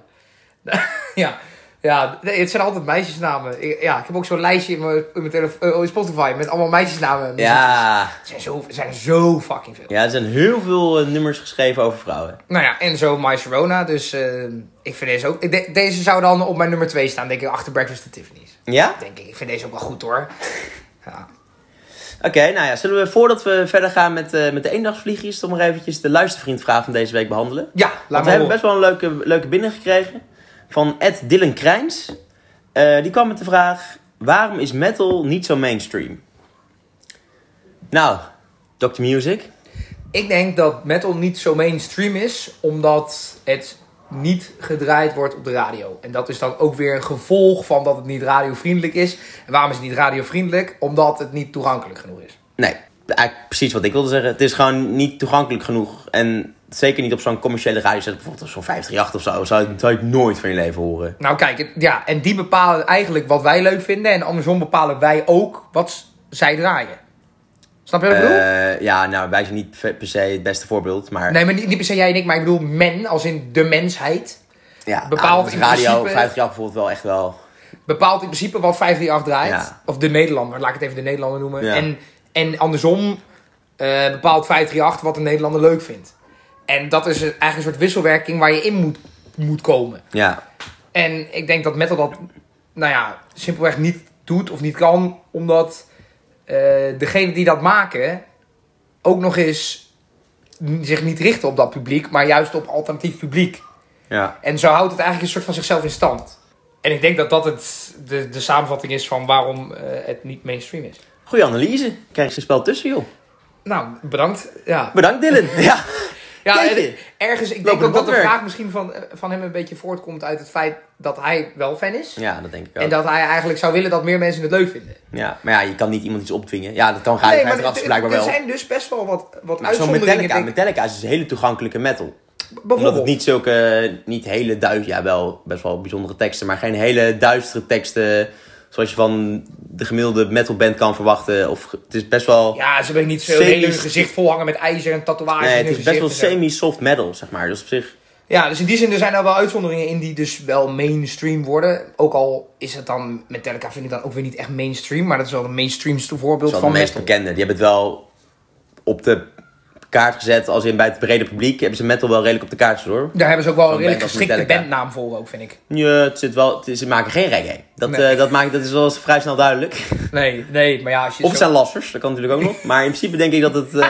S2: ja. Ja, nee, het zijn altijd meisjesnamen. Ik- Ja, ik heb ook zo'n lijstje in mijn, in mijn telefo- eh, in Spotify met allemaal meisjesnamen.
S1: Ja.
S2: Er zijn, zo, er zijn zo fucking veel.
S1: ja, er zijn heel veel eh, nummers geschreven over vrouwen.
S2: Nou ja, en zo My Sharona. Dus eh, ik vind deze ook. ik de- deze zou dan op mijn nummer 2 staan, denk ik, achter Breakfast at Tiffany's.
S1: Ja?
S2: Denk ik. Ik vind deze ook wel goed hoor. Ja.
S1: Oké, nou ja, zullen we voordat we verder gaan met, eh, met de eendagsvliegjes... toch nog eventjes de luistervriendvraag van deze week behandelen?
S2: Ja, laat
S1: Want we
S2: maar
S1: hebben
S2: horen.
S1: best wel een leuke, leuke binnengekregen van Ed Dylan Krijns. Eh, die kwam met de vraag, waarom is metal niet zo mainstream? Nou, Dr. Music.
S2: Ik denk dat metal niet zo mainstream is, omdat het niet gedraaid wordt op de radio. En dat is dan ook weer een gevolg van dat het niet radiovriendelijk is. En waarom is het niet radiovriendelijk? Omdat het niet toegankelijk genoeg is.
S1: Nee, eigenlijk precies wat ik wilde zeggen. Het is gewoon niet toegankelijk genoeg. En zeker niet op zo'n commerciële radiozender, bijvoorbeeld op zo'n 538 of zo. Zou, zou je het nooit van je leven horen.
S2: Nou kijk, het- ja, en die bepalen eigenlijk wat wij leuk vinden. En andersom bepalen wij ook wat zij draaien. Snap je wat ik bedoel?
S1: Eh, ja, nou, wij zijn niet per per se het beste voorbeeld, maar...
S2: nee, maar niet, niet per se jij en ik, maar ik bedoel men, als in de mensheid.
S1: ja,
S2: bepaald
S1: nou,
S2: in
S1: radio,
S2: principe-
S1: 50 jaar bijvoorbeeld wel echt wel...
S2: Bepaalt in principe wat 538 draait.
S1: Ja.
S2: Of de Nederlander, laat ik het even de Nederlander noemen.
S1: Ja.
S2: En, en andersom eh, bepaalt 538 wat de Nederlander leuk vindt. En dat is eigenlijk een soort wisselwerking waar je in moet, moet komen.
S1: Ja,
S2: En ik denk dat metal dat, nou ja, simpelweg niet doet of niet kan, omdat eh degenen die dat maken ook nog eens n- zich niet richten op dat publiek, maar juist op alternatief publiek.
S1: ja.
S2: En zo houdt het eigenlijk een soort van zichzelf in stand. En ik denk dat dat het de, de samenvatting is van waarom eh, het niet mainstream is.
S1: Goeie analyse. Krijg je een spel tussen, joh.
S2: Nou, bedankt. Ja,
S1: Bedankt, Dylan. ja.
S2: ja
S1: jeetje.
S2: en ergens, ik denk
S1: Lopende
S2: ook dat de
S1: bandwerk.
S2: vraag misschien van, eh, van hem een beetje voortkomt uit het feit dat hij wel fan is.
S1: ja, dat denk ik ook.
S2: En dat hij eigenlijk zou willen dat meer mensen het leuk vinden.
S1: Ja, maar ja, je kan niet iemand iets opdwingen. Ja, dat kan Radio
S2: Nee,
S1: 50
S2: er-
S1: blijkbaar
S2: er
S1: wel.
S2: zijn dus best wel wat, wat
S1: Maar zo'n
S2: uitzonderingen.
S1: Metallica.
S2: denk ik.
S1: Metallica is dus hele toegankelijke metal. Omdat het
S2: Bijvoorbeeld.
S1: niet zulke, niet hele duistere, ja wel best wel bijzondere teksten, maar geen hele duistere teksten zoals je van de gemiddelde metalband kan verwachten. Of, ge- het is best wel,
S2: Ja, ze willen niet zo
S1: Semis-
S2: heel hun gezicht volhangen met ijzer en tatoeages.
S1: nee,
S2: in
S1: het
S2: hun
S1: is best wel
S2: gezicht en zo.
S1: semi-soft metal, zeg maar. Dus op zich,
S2: Ja, dus in die zin er zijn er wel uitzonderingen in die dus wel mainstream worden. Ook al is het dan, Metallica vind ik dan ook weer niet echt mainstream. Maar dat is wel het mainstreamste voorbeeld
S1: van de
S2: van
S1: meest
S2: metal.
S1: bekende. Die hebben het wel op de kaart gezet, als in bij het brede publiek, hebben ze metal wel redelijk op de kaart gezet hoor.
S2: Daar hebben ze ook wel een
S1: Zo'n
S2: redelijk
S1: band als
S2: geschikte
S1: Metallica.
S2: bandnaam voor ook, vind ik.
S1: Ja, het zit wel, het is- ze maken geen reggae. Dat,
S2: Nee.
S1: eh, dat, maakt, dat is wel eens vrij snel duidelijk.
S2: Nee, nee, maar ja, als je
S1: Of het
S2: zo-
S1: zijn lassers, dat kan natuurlijk ook nog. Maar in principe denk ik dat het... eh,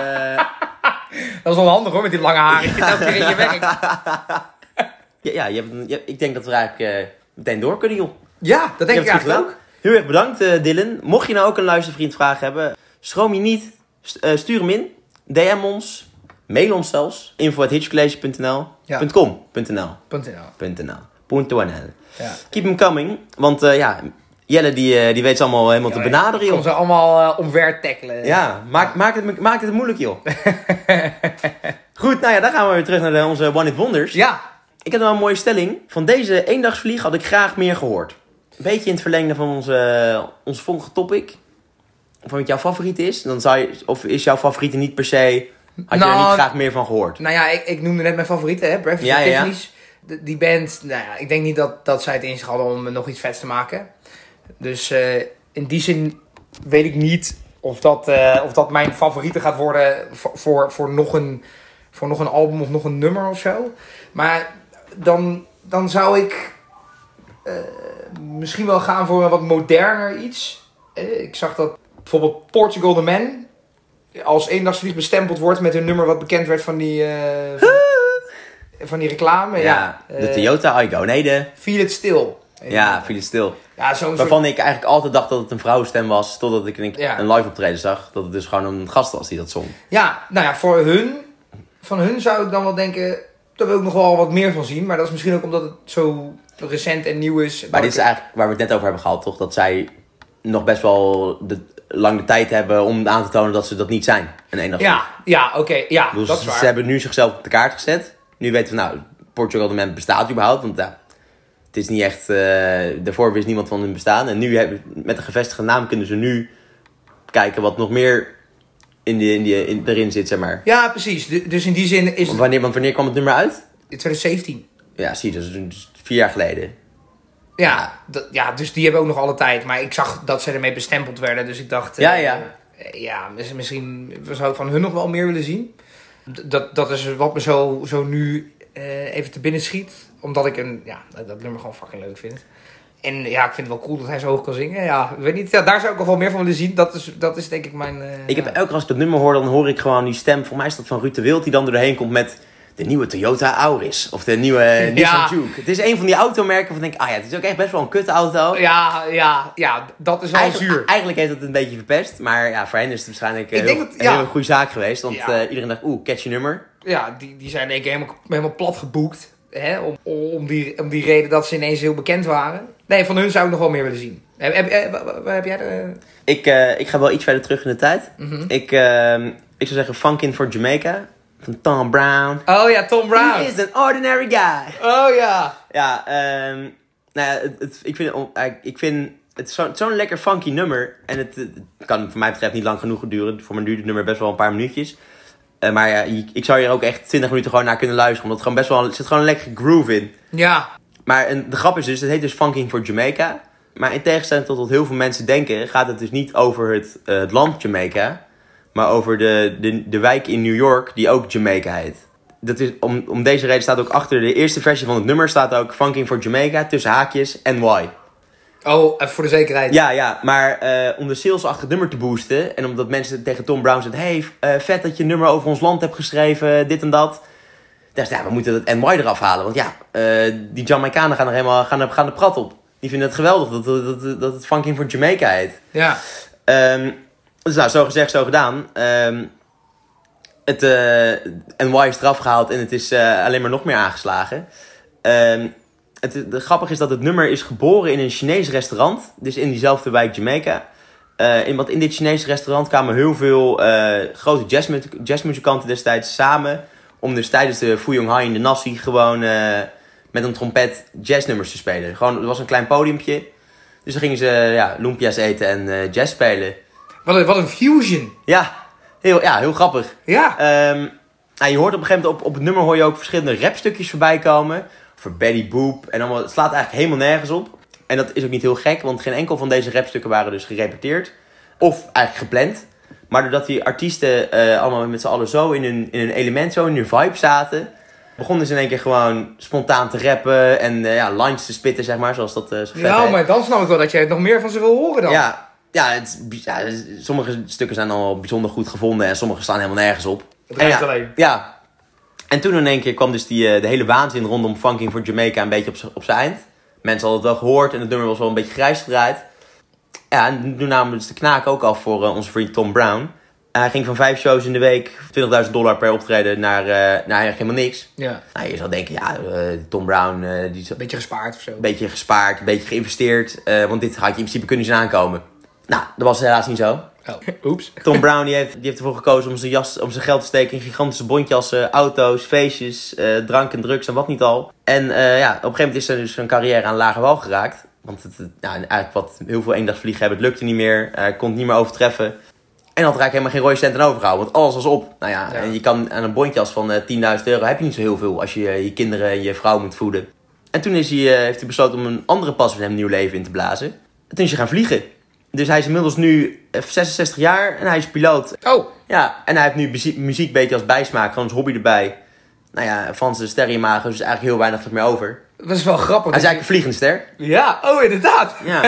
S2: dat is wel handig hoor, met die lange haren. Je zit elke keer in je werk.
S1: Ja, ja, je hebt, een- je- ik denk dat we eigenlijk eh, meteen door kunnen, joh.
S2: Ja, dat
S1: Je
S2: denk
S1: hebt
S2: ik
S1: het goed
S2: eigenlijk
S1: gedaan.
S2: ook.
S1: Heel erg bedankt, eh, Dylan. Mocht je nou ook een luistervriend vraag hebben, schroom je niet. St- eh, stuur hem in. DM ons. Mail ons zelfs. info.hitchcollege.nl
S2: Ja.
S1: .com. .nl.
S2: Punt in al.
S1: .nl. Punto NL.
S2: Ja.
S1: Keep them coming. Want eh, ja, Jelle die, eh, die weet ze allemaal helemaal te benaderen,
S2: Kom
S1: joh.
S2: ze allemaal eh, omver tackelen.
S1: Ja, maak, maak, het, maak het moeilijk, joh. Goed, nou ja, dan gaan we weer terug naar de- onze One Hit Wonders.
S2: Ja,
S1: Ik heb wel een mooie stelling. Van deze eendagsvlieg had ik graag meer gehoord. Een beetje in het verlengde van onze, ons vorige topic. Van wat jouw favoriet is. Dan zou je, of is jouw favoriete niet per se... Had je er
S2: Nou,
S1: niet graag meer van gehoord?
S2: Nou ja, ik, ik noemde net mijn favoriete, hè? Breakfast
S1: Ja,
S2: at
S1: ja, ja.
S2: Tiffany's. De- die band, nou ja, ik denk niet dat, dat zij het in zich hadden om nog iets vets te maken. Dus eh, in die zin weet ik niet of dat, eh, of dat mijn favoriete gaat worden voor, voor, voor, nog een, voor nog een album of nog een nummer of zo. Maar dan, dan zou ik eh, misschien wel gaan voor een wat moderner iets. Eh, ik zag dat bijvoorbeeld Portugal The Man als eendagsvlieg bestempeld wordt met hun nummer wat bekend werd van die, eh, van, van die reclame. Ja, Eh,
S1: ja, de Toyota Igo. Nee, de...
S2: Feel It Still.
S1: Ja, viel het stil.
S2: ja zo'n soort...
S1: Waarvan ik eigenlijk altijd dacht dat het een vrouwenstem was. Totdat ik een,
S2: Ja.
S1: een live optreden zag. Dat het dus gewoon een gast was die dat zong.
S2: Ja, nou ja, voor hun, van hun zou ik dan wel denken, daar wil ik nog wel wat meer van zien. Maar dat is misschien ook omdat het zo recent en nieuw is.
S1: Maar dit is eigenlijk waar we het net over hebben gehad, toch? Dat zij nog best wel de, lang de tijd hebben om aan te tonen dat ze dat niet zijn. Een eendagsvlieg.
S2: Ja, ja oké, ja,
S1: Ik bedoel,
S2: dat is
S1: ze,
S2: waar.
S1: Dus ze hebben nu zichzelf op de kaart gezet. Nu weten we, nou, Portugal de Man bestaat überhaupt. Want ja, het is niet echt... eh, daarvoor wist niemand van hun bestaan. En nu hebben, met een gevestigde naam kunnen ze nu kijken wat nog meer in die, in die, in, erin zit, zeg maar.
S2: Ja, precies. Du- Dus in die zin is het
S1: Wanneer, want wanneer kwam het nummer uit?
S2: 2017.
S1: Ja, zie, dat is dus vier jaar geleden.
S2: Ja, dat- ja, dus die hebben ook nog alle tijd. Maar ik zag dat ze ermee bestempeld werden, dus ik dacht... eh,
S1: Ja, ja.
S2: eh, ja, mis- misschien zou ik van hun nog wel meer willen zien. D- Dat, dat is wat me zo, zo nu eh, even te binnen schiet. Omdat ik een, ja, dat dat nummer gewoon fucking leuk vind. En ja, ik vind het wel cool dat hij zo hoog kan zingen. Ja, ik weet niet, ja, daar zou ik nog wel meer van willen zien. Dat is, dat is denk ik mijn... eh,
S1: Ik heb elke keer als ik dat nummer hoor, dan hoor ik gewoon die stem. Voor mij is dat van Ruud de Wild, die dan er doorheen komt met de nieuwe Toyota Auris. Of de nieuwe Nissan Juke. Het is een van die automerken waarvan ik denk, ah ja, het is ook echt best wel een kutte auto.
S2: Ja, ja, ja, dat is wel
S1: Eigenlijk,
S2: zuur.
S1: eigenlijk heeft het een beetje verpest, maar ja, voor hen is het waarschijnlijk eh,
S2: Ik
S1: heel,
S2: denk dat-
S1: een
S2: ja.
S1: hele goede zaak geweest. Want
S2: Ja.
S1: eh, iedereen dacht, oeh, catchy nummer.
S2: Ja, die, die zijn denk ik helemaal, helemaal plat geboekt. Hè? Om, om, die, om die reden dat ze ineens heel bekend waren. Nee, van hun zou ik nog wel meer willen zien. Heb, heb, eh, wa- wa- wa- heb jij de...
S1: Ik, eh, ik ga wel iets verder terug in de tijd.
S2: Mhm.
S1: ik, ehm, ik zou zeggen Funkin' for Jamaica van Tom Brown.
S2: Oh ja, Tom
S1: He
S2: Brown.
S1: is an ordinary guy.
S2: Oh ja.
S1: Ja, ehm, nou ja, het, het- ik, vind, om- eigenlijk, ik vind het is zo- het is zo'n lekker funky nummer. En het, eh, het kan voor mij betreft niet lang genoeg duren. Voor mijn duurt het nummer best wel een paar minuutjes. Eh, maar ja, je- ik zou hier ook echt 20 minuten gewoon naar kunnen luisteren. Omdat het gewoon best wel, er zit gewoon een lekkere groove in.
S2: Ja,
S1: Maar en de grap is dus, het heet dus Funking for Jamaica. Maar in tegenstelling tot wat heel veel mensen denken, gaat het dus niet over het, eh, het land Jamaica. Maar over de, de, de wijk in New York die ook Jamaica heet. Dat is, om, om deze reden staat ook achter de eerste versie van het nummer staat ook Funking for Jamaica tussen haakjes en why.
S2: oh, even voor de zekerheid.
S1: Ja, ja, maar eh, om de sales achter het nummer te boosten en omdat mensen tegen Tom Brown zeiden: hey, eh, vet dat je een nummer over ons land hebt geschreven, dit en dat. Dus ja, we moeten het NY eraf halen, want ja, eh, die Jamaicanen gaan er helemaal gaan er, gaan er prat op. Die vinden het geweldig dat, dat, dat, dat het Funkin' voor Jamaica heet.
S2: Ja.
S1: Ehm, dus nou, zo gezegd, zo gedaan. Ehm, het eh NY is eraf gehaald en het is eh, alleen maar nog meer aangeslagen. Ehm het, de, grappig is dat het nummer is geboren in een Chinees restaurant. Dus in diezelfde wijk Jamaica. Eh, in, want in dit Chinese restaurant kwamen heel veel eh, grote jazzmu- jazzmuzikanten destijds samen. Om dus tijdens de Fu Young Hai in de Nassi gewoon eh, met een trompet jazznummers te spelen. Gewoon, er was een klein podiumpje. Dus dan gingen ze ja, lumpia's eten en eh, jazz spelen.
S2: Wat, een, wat een fusion.
S1: Ja, heel, ja, heel grappig.
S2: Ja.
S1: Ehm, nou, je hoort op een gegeven moment op, op het nummer hoor je ook verschillende rapstukjes voorbij komen. Voor Betty Boop en allemaal. Het slaat eigenlijk helemaal nergens op. En dat is ook niet heel gek, want geen enkel van deze rapstukken waren dus gerepeteerd. Of eigenlijk gepland. Maar doordat die artiesten eh, allemaal met z'n allen zo in hun, in hun element, zo in hun vibe zaten. Begonnen ze in één keer gewoon spontaan te rappen en eh, ja, lines te spitten, zeg maar. Zoals dat eh, zo vet
S2: nou,
S1: heet.
S2: maar dan snap ik wel dat jij nog meer van ze wil horen dan.
S1: Ja, ja, het, is bi- ja, het is- sommige stukken zijn al bijzonder goed gevonden en sommige staan helemaal nergens op.
S2: Het lijkt
S1: En ja,
S2: alleen.
S1: Ja. En toen in één keer kwam dus die, eh, de hele waanzin rondom Funking voor Jamaica een beetje op z'n- op zijn eind. Mensen hadden het wel gehoord en het nummer was wel een beetje grijs gedraaid. Ja, en toen namen we dus de knaak ook af voor eh, onze vriend Tom Brown. Hij ging van vijf shows in de week, 20.000 dollar per optreden, naar, eh, naar eigenlijk helemaal niks.
S2: Ja.
S1: Nou, je zou denken, ja, eh, Tom Brown, eh, die, zal-
S2: Beetje gespaard of zo.
S1: een beetje gespaard, een beetje geïnvesteerd. eh, want dit had je in principe kunnen zien aankomen. Nou, dat was helaas niet zo.
S2: Oh. Oeps.
S1: Tom Brown die heeft, die heeft ervoor gekozen om zijn, jas, om zijn geld te steken in gigantische bontjassen, auto's, feestjes, eh, drank en drugs en wat niet al. En eh, ja, op een gegeven moment is er dus zijn carrière aan lager wal geraakt. Want het, het- nou, eigenlijk wat heel veel eendagsvliegen hebben, het lukte niet meer. Hij kon het niet meer overtreffen. En had er eigenlijk helemaal geen rode cent aan overgehouden, want alles was op. Nou ja,
S2: Ja.
S1: en je kan aan een bontjas van eh, 10.000 euro heb je niet zo heel veel als je eh, je kinderen en je vrouw moet voeden. En toen is hij, eh, heeft hij besloten om een andere passie voor hem nieuw leven in te blazen. En toen is hij gaan vliegen. Dus hij is inmiddels nu eh, 66 jaar en hij is piloot.
S2: Oh.
S1: Ja, en hij heeft nu muziek, muziek een beetje als bijsmaak, gewoon als hobby erbij. Nou ja, van zijn sterrenmagen dus is eigenlijk heel weinig meer over.
S2: Dat is wel grappig.
S1: Hij is eigenlijk een vliegende ster.
S2: Ja, oh inderdaad.
S1: Ja.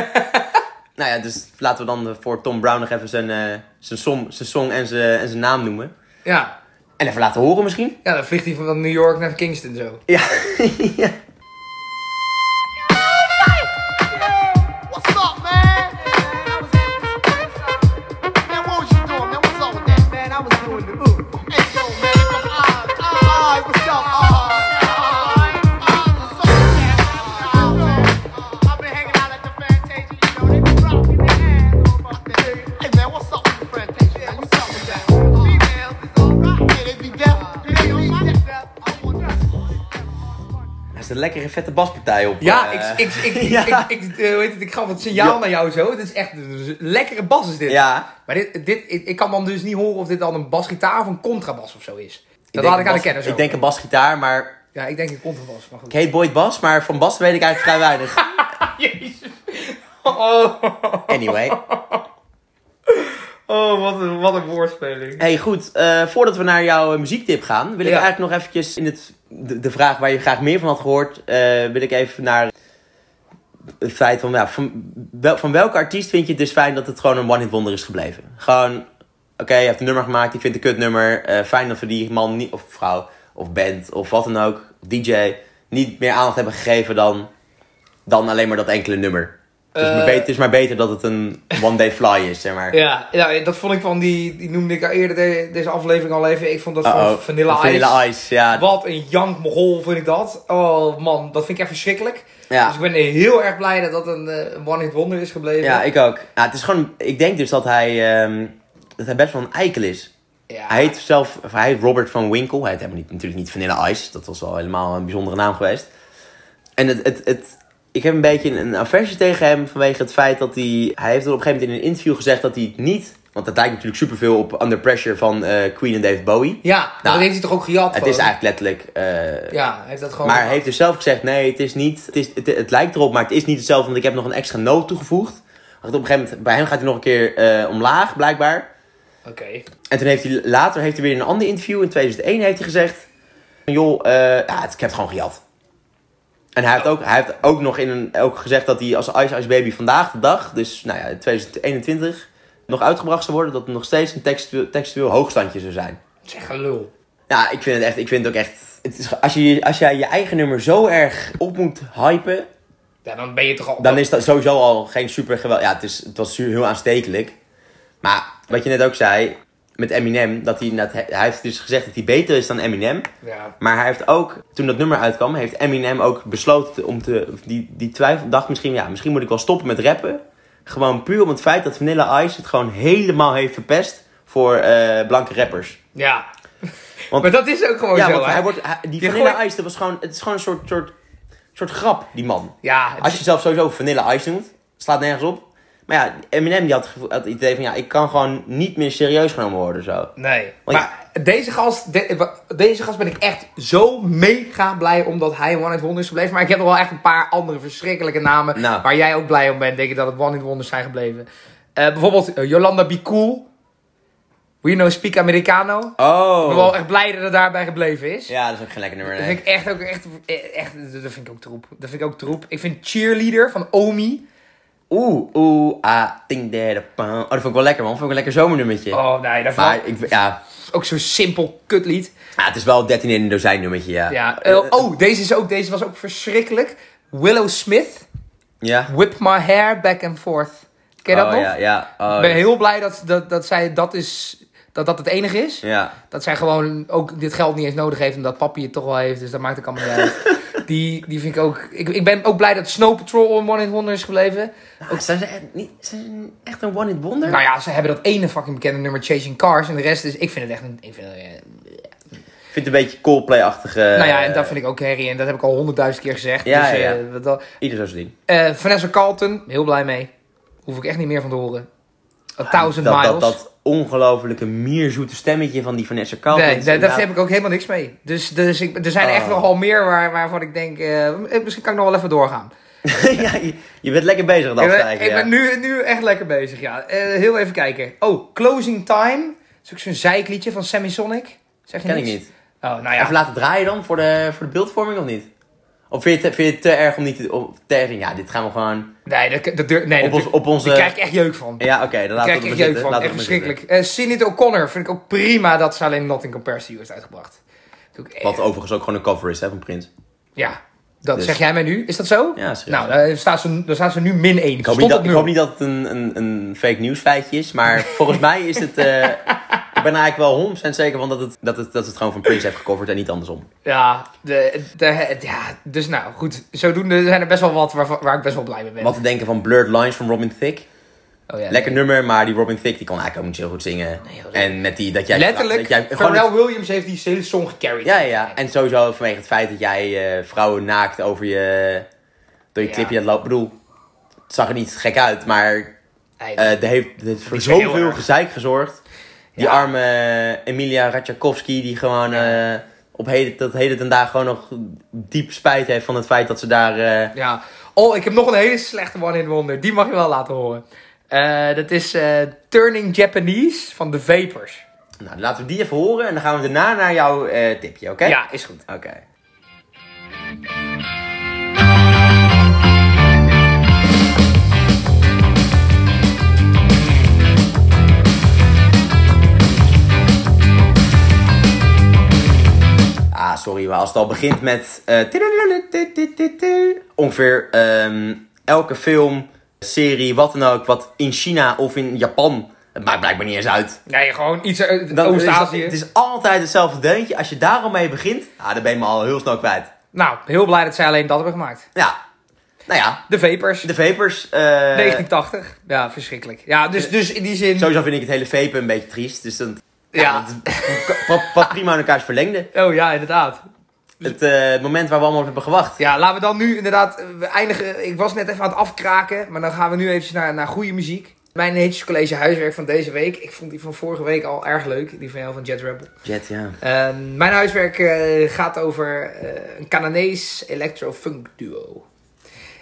S1: nou ja, dus laten we dan eh, voor Tom Brown nog even zijn, eh, zijn, som, zijn song en zijn, en zijn naam noemen.
S2: Ja.
S1: En even laten horen misschien.
S2: Ja, dan vliegt hij van New York naar Kingston zo.
S1: Ja. ja.
S5: What's up, man? I was at this place. Man, what was you doing, man? What's up with that, man? I was doing the ooh. Hey, yo, man, it was odd. Odd, what's up? Odd, odd, odd. What's up with that? Odd, man. I've been hanging out at the Fantasia, you know, they be rocking their ass off out there. Hey, man, what's up with the Fantasia, man? What's up with that? Females is all right. Yeah, they be deaf. They be deaf. I want that.
S1: Hij zit een lekkere vette baspartij op.
S2: Ja,
S1: eh,
S2: ik, ik, ik, ik,
S1: ja.
S2: ik, ik, eh, hoe heet het, ik gaf het signaal
S1: Ja.
S2: naar jou zo. Het is echt een lekkere bas is dit.
S1: Ja.
S2: Maar dit, dit, ik, ik kan dan dus niet horen of dit dan een basgitaar of een contrabas of zo is. Dat
S1: denk
S2: laat
S1: een
S2: ik aan de
S1: bas-
S2: kennis
S1: Ik denk een basgitaar, maar
S2: Ja, ik denk een contrabas, maar goed.
S1: ik heet Boyd Bas, maar van Bas weet ik eigenlijk vrij weinig.
S2: Jezus. Oh,
S1: Anyway.
S2: oh wat, een, wat een woordspeling.
S1: Hey, goed. eh, voordat we naar jouw eh, muziektip gaan, wil ik
S2: Ja.
S1: eigenlijk nog eventjes in het, de, de vraag waar je graag meer van had gehoord, eh, wil ik even naar het feit van, ja, van, wel, van welke artiest vind je het dus fijn dat het gewoon een one-hit wonder is gebleven? Gewoon, oké, je hebt een nummer gemaakt, je vindt een kutnummer, eh, fijn dat we die man niet, of vrouw, of band, of wat dan ook, of DJ, niet meer aandacht hebben gegeven dan, dan alleen maar dat enkele nummer. Het is, maar
S2: Eh.
S1: beter, het is maar beter dat het een one-day fly is, zeg maar.
S2: Ja, ja, dat vond ik van die, die noemde ik al eerder de- deze aflevering al even. Ik vond dat
S1: Uh-oh.
S2: van Vanilla,
S1: Oh, Vanilla
S2: Ice.
S1: Ice. ja.
S2: Wat een jank mogol vind ik dat. Oh man, dat vind ik echt verschrikkelijk.
S1: Ja.
S2: Dus ik ben heel erg blij dat dat een eh, een one-hit wonder is gebleven.
S1: Ja, ik ook. Ja, het is gewoon, ik denk dus dat hij, ehm, dat hij best wel een eikel is.
S2: Ja.
S1: Hij heet zelf, of hij heet Robert van Winkel. Hij heet helemaal niet, natuurlijk niet Vanilla Ice. Dat was al helemaal een bijzondere naam geweest. En het, het, het, ik heb een beetje een, een aversie tegen hem vanwege het feit dat hij... Hij heeft er op een gegeven moment in een interview gezegd dat hij het niet... Want dat lijkt natuurlijk superveel op Under Pressure van eh, Queen en David Bowie.
S2: Ja, maar dat heeft hij toch ook gejat?
S1: Nou, Het is
S2: gewoon?
S1: eigenlijk letterlijk... eh,
S2: Ja, hij heeft dat gewoon.
S1: maar hij heeft dus zelf gezegd, nee, het is niet... Het, is, het, het lijkt erop, maar het is niet hetzelfde, want ik heb nog een extra noot toegevoegd. Want op een gegeven moment, bij hem gaat hij nog een keer eh, omlaag, blijkbaar.
S2: Oké.
S1: En toen heeft hij later heeft hij weer in een ander interview in 2001 heeft hij gezegd: van, joh, eh, ja, het, ik heb het gewoon gejat. En hij heeft ook, hij heeft ook nog in een, ook gezegd dat hij als Ice Ice Baby vandaag de dag, dus nou ja, in 2021, nog uitgebracht zou worden. Dat het nog steeds een textueel, textueel hoogstandje zou zijn.
S2: Zeg een lul.
S1: Ja, ik vind het echt, ik vind het ook echt. Het is, als, je, als jij je eigen nummer zo erg op moet hypen,
S2: Ja, dan ben je toch al.
S1: dan is dat sowieso al geen super geweld. Ja, het, is, het was su- heel aanstekelijk. Maar wat je net ook zei met Eminem, dat hij, inderdaad- hij heeft dus gezegd dat hij beter is dan Eminem.
S2: Ja.
S1: Maar hij heeft ook, toen dat nummer uitkwam, heeft Eminem ook besloten om te. Die, die twijfel dacht misschien, ja, misschien moet ik wel stoppen met rappen. Gewoon puur om het feit dat Vanilla Ice het gewoon helemaal heeft verpest voor eh, blanke rappers.
S2: ja.
S1: Want-
S2: maar dat is ook gewoon
S1: Ja,
S2: Oh, zo.
S1: want
S2: hè?
S1: hij wordt, hij- die
S2: Je
S1: Vanilla
S2: gooit-
S1: Ice, dat was gewoon, het is gewoon een soort, soort, soort grap, die man.
S2: Ja, het
S1: Als
S2: is-
S1: je zelf sowieso Vanilla Ice noemt, slaat nergens op. Maar ja, Eminem die had, het gevoel- had het idee van, ja, ik kan gewoon niet meer serieus genomen worden, zo.
S2: Nee.
S1: Want-
S2: Maar deze gast, de- wa- deze gast ben ik echt zo mega blij omdat hij One Hit Wonder is gebleven. Maar ik heb nog wel echt een paar andere verschrikkelijke namen
S1: Nou.
S2: waar jij ook blij om bent. Denk ik dat het One Hit Wonders zijn gebleven. Eh, bijvoorbeeld eh, Yolanda Be Cool. We know speak Americano. Ik ben wel
S1: Oh.
S2: echt blij dat het daarbij gebleven is.
S1: Ja, dat is ook geen lekker nummer,
S2: Dat
S1: nee.
S2: vind ik echt ook echt, echt, dat vind ik ook troep. Dat vind ik ook troep. Ik vind Cheerleader van Omi.
S1: Oeh, oeh, ah, ding, derde, pam. Oh, dat vond ik wel lekker, man. Vond ik een lekker zomernummertje.
S2: Oh nee, dat vind
S1: Maar
S2: ik
S1: ik, ja,
S2: ook zo'n simpel kutlied.
S1: ja, het is wel 13 in een dozijn nummertje, ja.
S2: Ja. eh, oh, deze, is ook, deze was ook verschrikkelijk. Willow Smith.
S1: Ja.
S2: Whip my hair back and forth. Ken je dat
S1: Oh,
S2: nog?
S1: ja, ja. Oh,
S2: Ik ben heel blij dat, dat, dat zij dat is... Dat dat het enige is.
S1: Ja.
S2: Dat zij gewoon ook dit geld niet eens nodig heeft. En dat papi het toch wel heeft. Dus dat maakt ook allemaal niet uit. Die, die vind ik ook... Ik, ik ben ook blij dat Snow Patrol on One in Wonder is gebleven.
S1: Ook, Ah, zijn ze echt, niet, zijn ze echt een one-hit wonder?
S2: Nou ja, ze hebben dat ene fucking bekende nummer Chasing Cars. En de rest is... Ik vind het echt een... Ik vind het, eh,
S1: Ik vind het een beetje eh, Coldplay-achtige...
S2: nou ja, en dat vind ik ook herrie. En dat heb ik al honderdduizend keer gezegd.
S1: Ja,
S2: dus,
S1: ja, ja.
S2: eh, wat dat-
S1: Ieder zo zijn ding.
S2: Eh, Vanessa Carlton, heel blij mee. Hoef ik echt niet meer van te horen. A thousand
S1: Ah, dat,
S2: miles.
S1: Dat, dat ongelofelijke mierzoete stemmetje van die Vanessa Carlton.
S2: nee,
S1: is
S2: daar, daar
S1: inderdaad-
S2: heb ik ook helemaal niks mee. Dus, dus ik, er zijn echt
S1: Oh.
S2: nogal meer waar, waarvan ik denk, eh, eh, misschien kan ik nog wel even doorgaan.
S1: ja, je, je bent lekker bezig dat
S2: Ik ben,
S1: afstijgen.
S2: ik
S1: ja.
S2: ben nu, nu echt lekker bezig, ja. Eh, heel even kijken. Oh, Closing Time. Dat is ook zo'n zeikliedje van Semisonic. Zeg je
S1: Ken ik
S2: niks?
S1: niet.
S2: Oh, nou ja.
S1: Even laten draaien dan voor de, voor de beeldvorming of niet? Of vind je het, vind je het te erg om niet te... Om, te erg- ja, dit gaan we gewoon...
S2: Nee, dat, dat durf- nee,
S1: Op
S2: dat
S1: ons-
S2: durf-
S1: op onze-
S2: Daar krijg ik echt jeuk van.
S1: Ja, oké, dan
S2: Daar
S1: laten
S2: krijg
S1: we
S2: ik
S1: het maar
S2: echt jeuk
S1: zitten.
S2: van.
S1: Laten
S2: Echt
S1: we het maar zitten.
S2: verschrikkelijk. Eh Sinead O'Connor vind ik ook prima dat ze alleen Nothing Compares to You heeft uitgebracht. Vind ik ook echt-
S1: Wat overigens ook gewoon een cover is hè, van Prins.
S2: Ja, dat
S1: Dus-
S2: zeg jij mij nu. Is dat zo?
S1: Ja, serieus.
S2: Nou, daar staat ze, daar staat ze nu min 1.
S1: Ik hoop, niet dat, ik hoop niet dat het een, een, een fake nieuws feitje is, maar volgens mij is het... eh, ik ben er eigenlijk wel 100% zeker van dat het, dat, het, dat het gewoon van Prins heeft gecoverd en niet andersom.
S2: Ja, de, de, het- ja, dus nou, goed. Zodoende zijn er best wel wat waar, waar ik best wel blij mee ben.
S1: Wat te denken van Blurred Lines van Robin Thicke.
S2: Oh, ja,
S1: Lekker nummer, maar die Robin Thicke die kon eigenlijk ook niet zo goed zingen.
S2: joh,
S1: en met die dat jij
S2: Letterlijk,
S1: dat jij gewoon
S2: Pharrell Williams heeft die hele song gecarried.
S1: ja, ja, ja. En sowieso vanwege het feit dat jij eh, vrouwen naakt over je door je
S2: Ja.
S1: clipje had lopen. Ik bedoel, het zag er niet gek uit, maar eh
S2: Nee,
S1: dat heeft dat heeft voor
S2: is wel heel
S1: zoveel
S2: erg.
S1: gezeik gezorgd. Die
S2: Ja.
S1: arme eh, Emilia Ratajkowski die gewoon eh, op heden, tot heden ten dagen gewoon nog diep spijt heeft van het feit dat ze daar... eh,
S2: ja. Oh, ik heb nog een hele slechte one in wonder. Die mag je wel laten horen. Eh, dat is eh, Turning Japanese van The Vapors.
S1: Nou, laten we die even horen en dan gaan we daarna naar jouw eh, tipje, oké?
S2: Ja, is goed.
S1: Oké. Ah, sorry, maar als het al begint met... eh, tiddeledeledededede, ongeveer ehm, elke film, serie, wat dan ook, wat in China of in Japan... Het maakt blijkbaar niet eens uit.
S2: Nee, gewoon iets uit
S1: Dan is,
S2: Oost-Azië.
S1: het is altijd hetzelfde deuntje. Als je daar al mee begint, ah, dan ben je me al heel snel kwijt.
S2: Nou, heel blij dat zij alleen dat hebben gemaakt.
S1: Ja. Nou ja,
S2: The Vapors.
S1: de vapers. eh,
S2: 1980. Ja, verschrikkelijk. Ja, dus, dus in die zin...
S1: Sowieso vind ik het hele vapen een beetje triest. Dus dan,
S2: Ja.
S1: dat- wat, wat prima aan elkaars verlengde.
S2: Oh ja, inderdaad.
S1: het eh, moment waar we allemaal op hebben gewacht.
S2: Ja, laten we dan nu inderdaad eh, we eindigen. Ik was net even aan het afkraken, maar dan gaan we nu eventjes naar, naar goede muziek. Mijn Hitches College huiswerk van deze week. Ik vond die van vorige week al erg leuk, die van jou van Jet Rebel.
S1: Jet, ja.
S2: Eh, mijn huiswerk eh, gaat over eh, een Canadees electro-funk duo.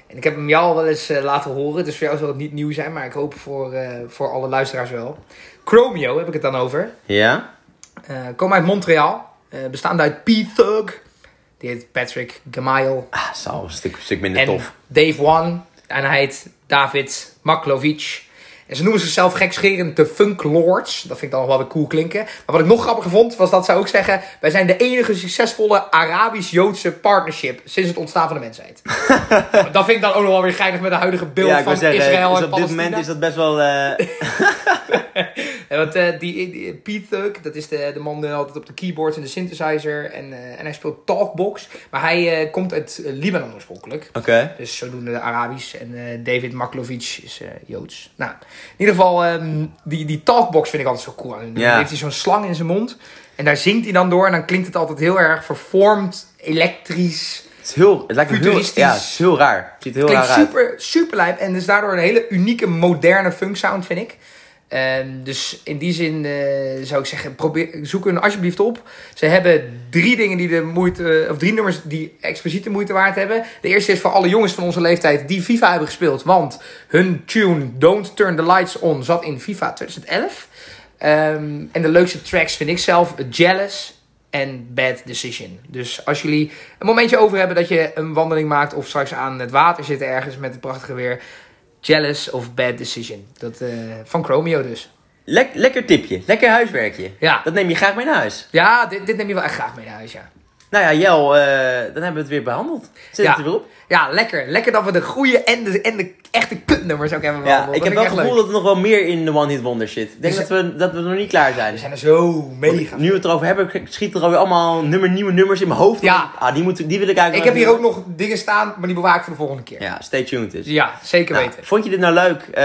S2: En ik heb hem jou al wel eens eh, laten horen, dus voor jou zal het niet nieuw zijn, maar ik hoop voor, eh, voor alle luisteraars wel. Chromio heb ik het dan over.
S1: Ja?
S2: Eh komen uit Montreal, eh, bestaande uit P-Thug. Die heet Patrick Gamayel.
S1: Ah, dat is al een stuk, stuk minder
S2: En
S1: tof.
S2: Dave Wan. En hij heet David Maklovic. En ze noemen zichzelf gekscherend de Funk Lords. Dat vind ik dan wel weer cool klinken. Maar wat ik nog grappiger vond, was dat ze ook zeggen... wij zijn de enige succesvolle Arabisch-Joodse partnership... sinds het ontstaan van de mensheid. dat vind ik dan ook nog wel weer geinig met de huidige beeld
S1: Ja, ik
S2: van
S1: wil zeggen,
S2: Israël
S1: dus
S2: en
S1: op dit
S2: Palestina.
S1: moment is dat best wel... eh,
S2: Ja, want eh, die, die Pete Thug, dat is de, de man die altijd op de keyboards en de synthesizer. En, eh, en hij speelt talkbox. Maar hij eh, komt uit eh, Libanon oorspronkelijk.
S1: Oké.
S2: Dus zodoende Arabisch. En eh, David Maklovic is eh, Joods. Nou, in ieder geval, ehm, die, die talkbox vind ik altijd zo cool. Dan
S1: Ja.
S2: heeft hij zo'n slang in zijn mond. En daar zingt hij dan door. En dan klinkt het altijd heel erg vervormd, elektrisch.
S1: Het is heel... Het lijkt me heel...
S2: Futuristisch.
S1: Ja, het is heel raar. Het ziet er heel
S2: Klinkt
S1: raar uit.
S2: super, super lijp. En is daardoor een hele unieke, moderne funk sound, vind ik. Ehm, dus in die zin eh, zou ik zeggen, probeer, zoek hun alsjeblieft op. Ze hebben drie dingen die de moeite, of drie nummers die expliciet de moeite waard hebben. De eerste is voor alle jongens van onze leeftijd die FIFA hebben gespeeld. Want hun tune Don't Turn the Lights On zat in FIFA 2011. Ehm, en de leukste tracks vind ik zelf Jealous en Bad Decision. Dus als jullie een momentje over hebben dat je een wandeling maakt... of straks aan het water zit ergens met het prachtige weer... Jealous of Bad Decision. Dat, eh, van Chromio dus.
S1: Lek- lekker tipje. Lekker huiswerkje.
S2: Ja.
S1: Dat neem je graag mee naar huis.
S2: Ja, dit, dit neem je wel echt graag mee naar huis, ja.
S1: Nou ja, Jel, eh, dan hebben we het weer behandeld. Zit
S2: ja.
S1: het er weer op?
S2: Ja, lekker. Lekker dat we de goede en de, en de echte kutnummers ook hebben.
S1: Ja,
S2: behandeld.
S1: ik
S2: Dat
S1: heb
S2: vind
S1: wel het
S2: echt
S1: gevoel
S2: leuk.
S1: dat er nog wel meer in de One Hit Wonder zit. Ik denk
S2: Dus-
S1: dat, we, dat we nog niet klaar zijn.
S2: We zijn er zo mega.
S1: Nu we het erover hebben, schiet er alweer allemaal nummer, nieuwe nummers in mijn hoofd.
S2: Ja.
S1: Ah, die, moet, die wil ik eigenlijk
S2: Ik
S1: nog
S2: heb hier
S1: even-
S2: ook nog dingen staan, maar die bewaak ik voor de volgende keer. Ja,
S1: Ja, stay tuned dus.
S2: zeker
S1: Nou,
S2: weten.
S1: vond je dit nou leuk? Eh,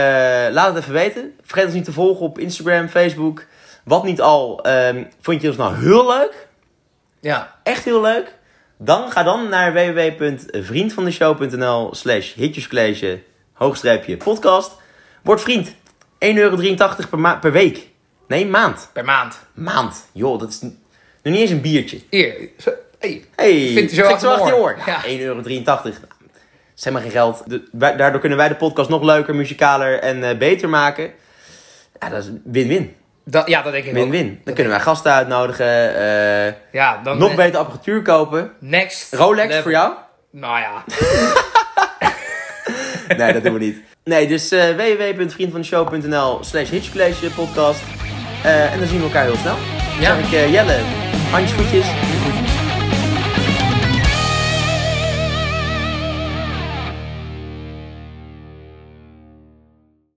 S1: laat het even weten. Vergeet ons niet te volgen op Instagram, Facebook. Wat niet al. Ehm, vond je ons nou heel leuk?
S2: Ja.
S1: Echt heel leuk? Dan ga dan naar www.vriendvandeshow.nl slash hitjescollege hoogstreepje podcast. Word vriend. 1,83 euro per, ma- per week. Nee, maand.
S2: Per maand.
S1: Maand. Joh, dat is n- nog niet eens een biertje.
S2: Hier. Zo- Hey.
S1: Hey,
S2: Vindt u zo
S1: vindt
S2: achter mijn oor. Ja.
S1: 1,83 euro. Zeg maar geen geld. De- wij- daardoor kunnen wij de podcast nog leuker, muzikaler en eh, beter maken. Ja, dat is win-win.
S2: Dat, ja, dat denk ik ook.
S1: Win-win. Dan kunnen wij gasten uitnodigen. eh,
S2: Ja, dan
S1: nog
S2: eh,
S1: beter apparatuur kopen.
S2: Next.
S1: Rolex
S2: level.
S1: voor jou?
S2: Nou ja.
S1: Nee, dat doen we niet. Nee, dus eh www.vriendvandeshow.nl slash hitchcollege podcast. Eh, en dan zien we elkaar heel snel.
S2: Ja.
S1: Dan zeg ik eh, Jelle, handjes, voetjes.